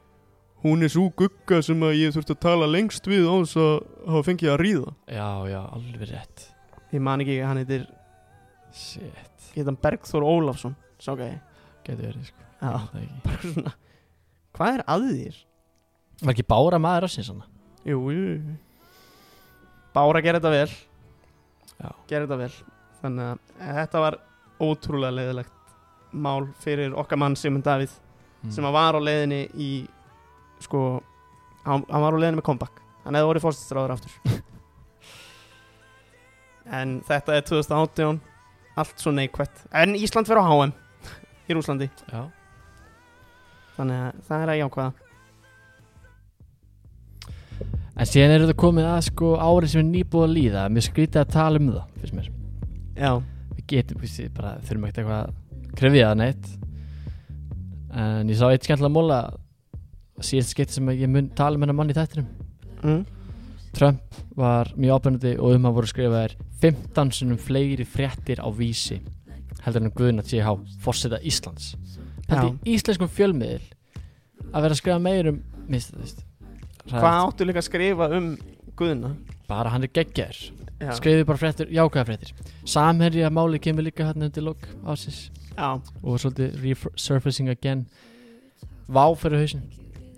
S3: hún er svo gugga sem að ég þurfti að tala lengst við á þess að hafa fengið að ríða
S2: já, já, alveg rétt
S3: ég man ekki, hann heitir
S2: shit,
S3: heitan Bergþór Ólafsson sá gæði
S2: getur verið sko.
S3: Já.
S2: Ég veit það ekki.
S3: [laughs] bara eitthvað svona, hvað er að þér?
S2: var ekki bára maður af sinns
S3: Jú, jú, jú Bára gerir þetta vel
S2: Já.
S3: gerir þetta vel þannig að eh, þetta var ótrúlega leiðilegt mál fyrir okkar mann Simon Davíð sem
S2: Mm.
S3: að var á leiðinni í sko, hann, hann var á leiðinni með comeback hann hefði orðið fórstæðstráður aftur [laughs] en þetta er 2018 allt svo neikvætt en Ísland fyrir á HM í Rúslandi
S2: já
S3: þannig að það er að jákvæða
S2: En síðan eru þetta komið að sko árið sem er nýbúið að líða Mér skrítið að tala um það, finnst mér
S3: já,
S2: Við getum, við séum bara, þurfum ekkert eitthvað að krefja það neitt En ég sá eitt skemmtilega móla Síðast skeitt sem ég mun tala um hennar mann í þættinum
S3: mm.
S2: Trump var mjög ábennandi og um hann voru skrifaðir 15 sinnum fleiri fréttir á vísi heldur en Guðna TH Forseta Íslands Þetta í íslenskum fjölmiðil að vera að skrifa um meirum mista, veist,
S3: hvað áttu líka að skrifa um Guðna?
S2: bara hann er geggjær
S3: Já,
S2: skrifið bara fréttir, jákvæða fréttir samherja máli kemur líka hérna undir lok ásins
S3: já,
S2: og var svolítið resurfacing again vá fyrir hausin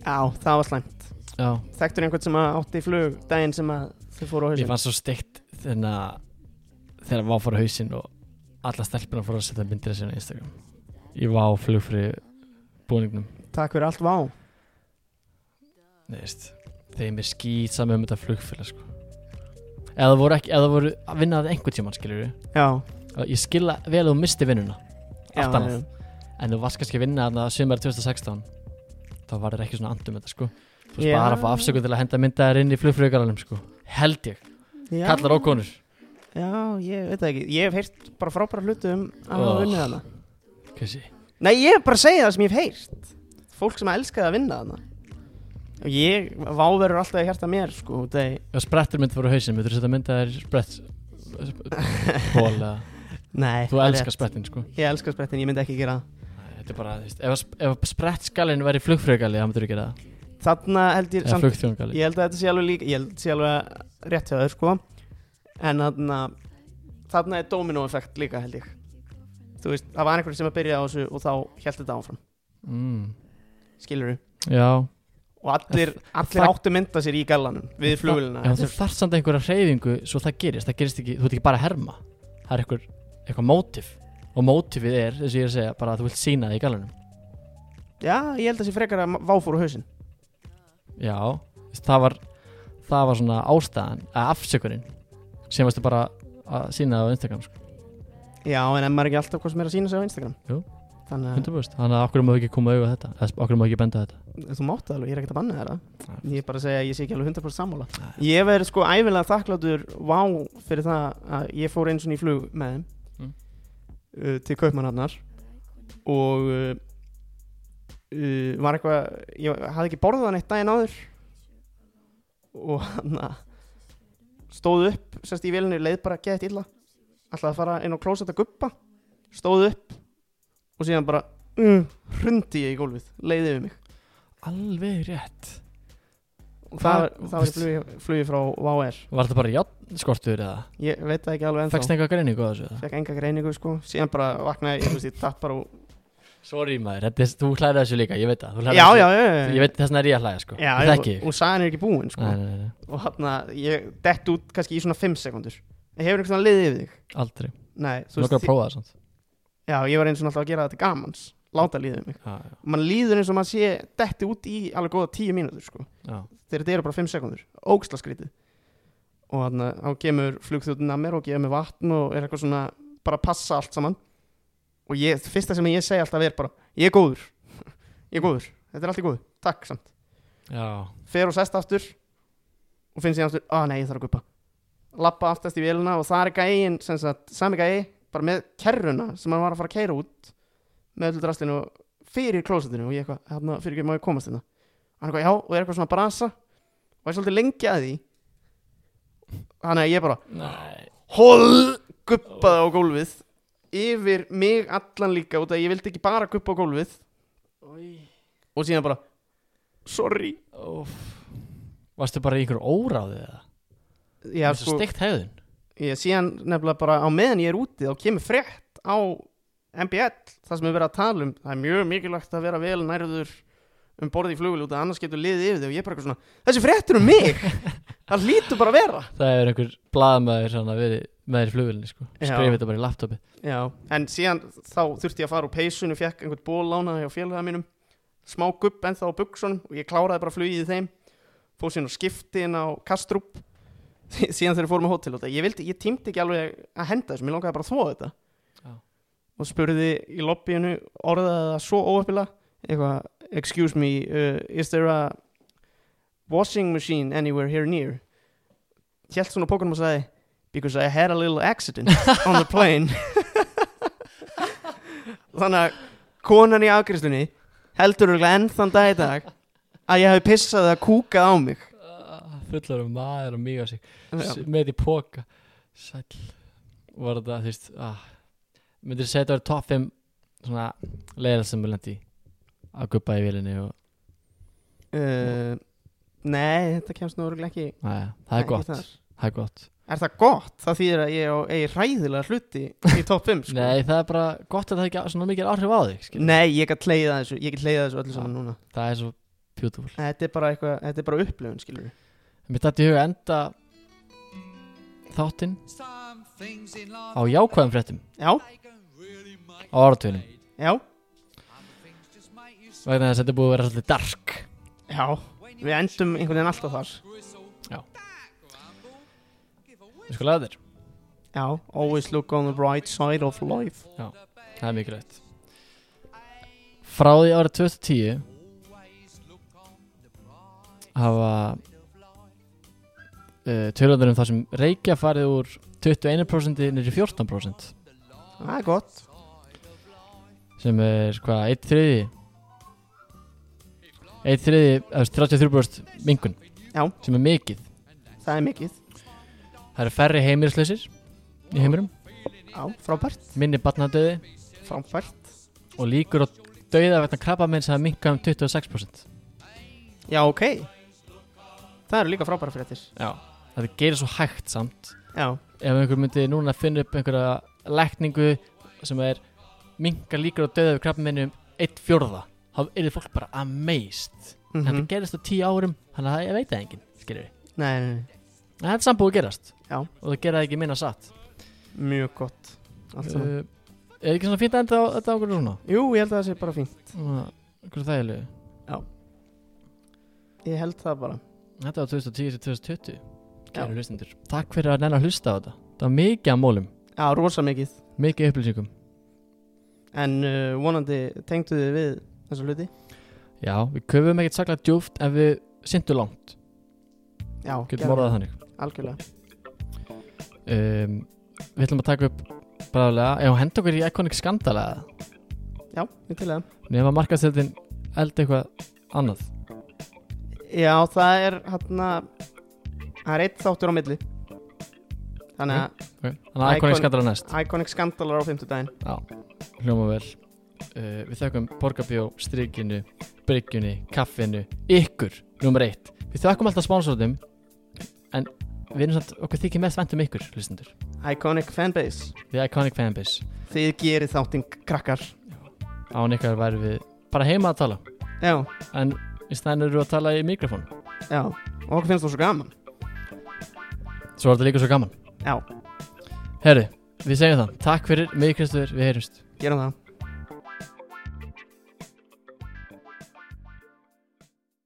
S3: já það var slæmt
S2: já,
S3: þekktur einhvern sem að átti í flug daginn sem að þau fóru á
S2: ég
S3: hausinn
S2: fannst svo steikt þegar þegar vá fyrir hausin og alla stelpina fór að setja myndir að sér á Instagram ég vá flugfri búningnum
S3: takk fyrir allt vá
S2: Nei, veist, þeim er skýt saman um þetta flugfélag sko. eða voru ekki eða voru að vinna að einhvern tímann skiljur
S3: já,
S2: ég skila vel að þú misti vinnuna
S3: já,
S2: Allt annað. En þú varst kannski að vinna þarna sumar 2016 þá var þér ekki svona andum þetta sko Þú veist bara að fá afsökun til að henda mynda þær inn í flugfröðgaralum sko Held ég,
S3: já,
S2: kallar ókonur
S3: já, ég veit það ekki Ég hef heyrt bara frábæra hluti um að
S2: Oh.
S3: hafa unnið hana
S2: Kissi
S3: Nei, ég hef bara að segja það sem ég hef heyrt Fólk sem elskaði að vinna hana Og ég, vá verður alltaf að hjarta mér sko Þegar
S2: Ef sprettur myndi fara á hausinn, myndir þú setja mynda þær í sprett
S3: [laughs]
S2: Ból eða
S3: Nei,
S2: Þú
S3: það er
S2: elskar
S3: rétt.
S2: sprettin sko
S3: Ég elska sprettin, ég myndi ekki gera það
S2: Nei, Þetta er bara, þú veist, ef, að sp- ef sprettskallin væri flugfröðgali, það myndir þú gera það
S3: Þarna held ég
S2: Eða
S3: samt
S2: flugþjóngali
S3: Ég held að þetta sé alveg líka Ég held að þetta sé alveg rétt hjá þau sko En þarna Þarna er dominoeffekt líka held ég Þú veist, það var einhverjum sem að byrja á þessu Og þá held þetta áfram,
S2: mm.
S3: skilur
S2: Já,
S3: Og allir, allir
S2: það-
S3: áttu mynda sér í gallanum Við hérna. flugulina
S2: en þú þarf samt einhverja hreyfingu svo það gerist, það gerist ekki, þú ert ekki bara að herma Það er einhver, eitthvað mótif Og mótifið er, eins og ég er að segja, bara að þú vilt sína það í galunum
S3: Já, ég held að sé frekar að váfúr á hausinn
S2: Já, þú veist, það var það var svona ástæðan, eða afsökunin sem varstu bara að sína það á Instagram sko,
S3: Já, en en maður ekki alltaf hvað sem er að sína sig á Instagram
S2: Jú.
S3: Þannig
S2: 100% þannig að okkur má ekki koma auðvitað þetta, eða okkur má ekki benda á þetta
S3: að þú mátt það alveg, ég er ekkert að banna þér það Ég er bara að segja að ég sé ekki alveg 100% sammála Ég verð sko æfilega þakklátur Vá fyrir það að ég fór eins og í flug með þeim
S2: Mm.
S3: uh, Til kaupmannarnar Og uh, uh, Var eitthvað Ég hafði ekki borðað hann eitt daginn áður Og hann að Stóð upp Sérst í vélinu, leið bara gett illa Ætlaði að fara inn á klósett að guppa Stóð upp Og síðan bara mm, Hrundi ég í gólfið, leiði yfir mig
S2: Alveg rétt
S3: Og það,
S2: Hvað-
S3: það var í flugi, flugi frá VAR
S2: Var þetta bara játnskortur eða?
S3: Ég veit það ekki alveg ennþá
S2: Fækst einhver greiningu á þessu eða?
S3: Fekk enga greiningu sko Síðan bara vaknaði, ég veist, ég datt bara og
S2: Sorry maður, þetta, er- þú hlærið þessu líka, ég veit það þú
S3: Já,
S2: hlærð
S3: já,
S2: þessu-
S3: já, já
S2: Ég veit þess vegna er ég að hlæja sko,
S3: Já,
S2: ég þekki
S3: og,
S2: ég
S3: og sagan er ekki búin sko
S2: Nei, nei, nei,
S3: Og hann að ég dett út kannski í svona 5 sekundur Hefur einhvern veginn liðið yfir þig?
S2: aldrei,
S3: Nei, þú
S2: þú
S3: veist
S2: nokkar að
S3: því-
S2: prófa það samt
S3: Já, ég var eins og alltaf að gera þetta gamans Láta líðið mig
S2: Já, já,
S3: Og mann líður eins og maður sé detti út í alveg góða 10 mínútur sko
S2: já,
S3: Þegar þetta eru bara 5 sekundur Ógsla skrítið Og hann að þá kemur flugþjóðin að mér og gefur mér vatn Og er eitthvað svona bara að passa allt saman Og ég, fyrsta sem ég segi alltaf er bara Ég er góður [laughs] Ég er góður Þetta er allt í góðu Takk samt
S2: já,
S3: fer og sest aftur og finn síðan aftur, að nei, ég þarf að gupa lappa aftast í vélina og það er gæin sem sagt, sami gæi, bara með kerruna sem hann var að fara að keira út með öllu drastlinu fyrir klósetinu og ég eitthvað, hérna, fyrir ekki má ég komast hérna hann eitthvað, já, og er eitthvað svona að brasa og er svolítið lengi að því þannig að ég bara
S2: nei
S3: hol, guppaði á gólfið yfir mig allan líka út af að ég vildi ekki bara guppa á gólfið og síðan bara sorry
S2: Óf. Varstu bara í einhverju óráði eða?
S3: Já, sko-
S2: Varstu steikt hegðun?
S3: ég síðan nefnilega bara á meðan ég er úti þá kemur frétt á MBL, það sem við verið að tala um það er mjög mikilvægt að vera vel nærður um borðið í flugul út að annars getur liðið yfir þig og ég er bara eitthvað svona, þessi fréttur um mig [laughs] það lítur bara að vera
S2: Það er einhver blaðmaður svona verið með þér í flugulni sko
S3: Já.
S2: Skrifið þetta bara í laptopi
S3: Já. en síðan þá þurfti ég að fara úr peysunum fekk einhvern ból lánaði á félaga mínum smá gupp ennþá á buksunum og ég kláraði bara flugið í þeim fór síðan á skiptin á Kastrup [laughs] síðan þegar við fórum á hótel og þetta ég, vildi, ég tímti ekki alveg að henda þessu, mér langaði bara að þvóa þetta
S2: Já.
S3: og spurði í lobbyinu orðaði það svo óöfnilega eitthvað, excuse me uh, is there a washing machine anywhere here near hjælt svona pókunum og sagði because I had a little accident on the plane þannig að konan í afgriðslunni heldur örugglega enn þann dag í dag að ég hafi pissað að kúkað á mig
S2: Fullar um maður og mýga sig S- Með því póka Sæll Var þetta þú veist ah. Myndir segja þetta verið top 5 Svona leiðar sem við lendi Að guppa í vilinni og
S3: uh, Nei, þetta kemst nú örugglega ekki
S2: Næja, ah, það er
S3: Ekki
S2: gott
S3: þar.
S2: Það er gott
S3: Er það gott? Það þýðir að ég á eigi ræðilega hluti í topp 5 sko.
S2: Nei, það er bara gott að það ekki á- svona mikil áhrif á þig skilur.
S3: Nei, ég get leiða þessu Ég get leiða þessu öllu
S2: Ah.
S3: saman núna
S2: Það er svo beautiful
S3: Þetta er bara, eitthvað, þetta er bara upplifun, skilur við
S2: Mér dætti í huga að enda þáttinn á jákvæðum fréttum
S3: Já,
S2: á áratugunum
S3: já,
S2: vegna þess að þetta er búið að vera svolítið dark
S3: já Við endum einhvern veginn alltaf þar
S2: Við sko laga þér
S3: Já, always look on the bright side of life
S2: Það er mikilvægt Frá því árið 2010 hafa uh, tölundar um það sem reykja farið úr 21% nýri 14%
S3: Það er gott
S2: sem er hvað, eitt þriði eitt þriði, eða 33% minkun
S3: Já.
S2: sem er mikið
S3: Það er mikið
S2: það eru færri heimilislausir í heimurum,
S3: Já, frábært
S2: minni batnadöði
S3: Frábært
S2: og líkur á döiða vegna krabba minn sem minka um 26%
S3: Já, ok Það eru líka frábæra fréttir
S2: Já. það gerir svo hægt samt
S3: Já,
S2: ef einhver myndi núna finna upp einhverja lækningu sem er minka líkur á döiða við krabba minn um 1 fjórða, þá er fólk bara amazed,
S3: mm
S2: en þetta gerist á 10 árum þannig að ég veit það enginn, skiljum við
S3: nei, nei, nei,
S2: En þetta er sambúið að gerast
S3: Já.
S2: Og það gera það ekki minna satt
S3: mjög gott
S2: uh,
S3: Allt saman
S2: Er ekki svona fínt að enda á þetta okkur svona?
S3: Jú, ég held að það sé bara fínt
S2: Svona, Okkur þægilegu
S3: Ég held það bara
S2: Þetta var 2010 til 2020
S3: Já.
S2: Kæru hlustendur Takk fyrir að nenn að hlusta á þetta Það var mikið að mólum
S3: Já, rosa mikið
S2: Mikið af upplýsingum
S3: En uh, vonandi tengdu þið við þessa hluti
S2: Já, við köfum ekkert saklega djúft En við syndu langt
S3: Já,
S2: Getum orðað það þannig
S3: Algjörlega
S2: um, Við ætlum að taka upp Bráðlega Ef hún henda okkur í Iconic Skandala
S3: Já, ég til það
S2: Nefn að markastöldin elda eitthvað annað
S3: Já, það er hérna Það er eitt þáttur á milli Þannig að
S2: okay. Þannig að Iconic
S3: Iconic-
S2: Skandala næst
S3: Iconic Skandalar á fimmtudaginn
S2: hljóma vel uh, við þökkum Borgabjó, Strykinu Bryggjunni, Kaffinu, ykkur nummer eitt, við þökkum alltaf spánsóðum en við erum samt okkur þykir mest vænt um ykkur, hlustendur
S3: Iconic Fanbase
S2: við Iconic Fanbase,
S3: Þið gerið þáttinn krakkar
S2: án ykkar væri við bara heima að tala,
S3: Já,
S2: en í stæðinu eru við að tala í mikrofón,
S3: já Og okkur finnst þú svo gaman
S2: svo er þetta líka svo gaman
S3: Já,
S2: herri, við segjum það, takk fyrir mig Kristofur, við heyrumst
S3: gerum það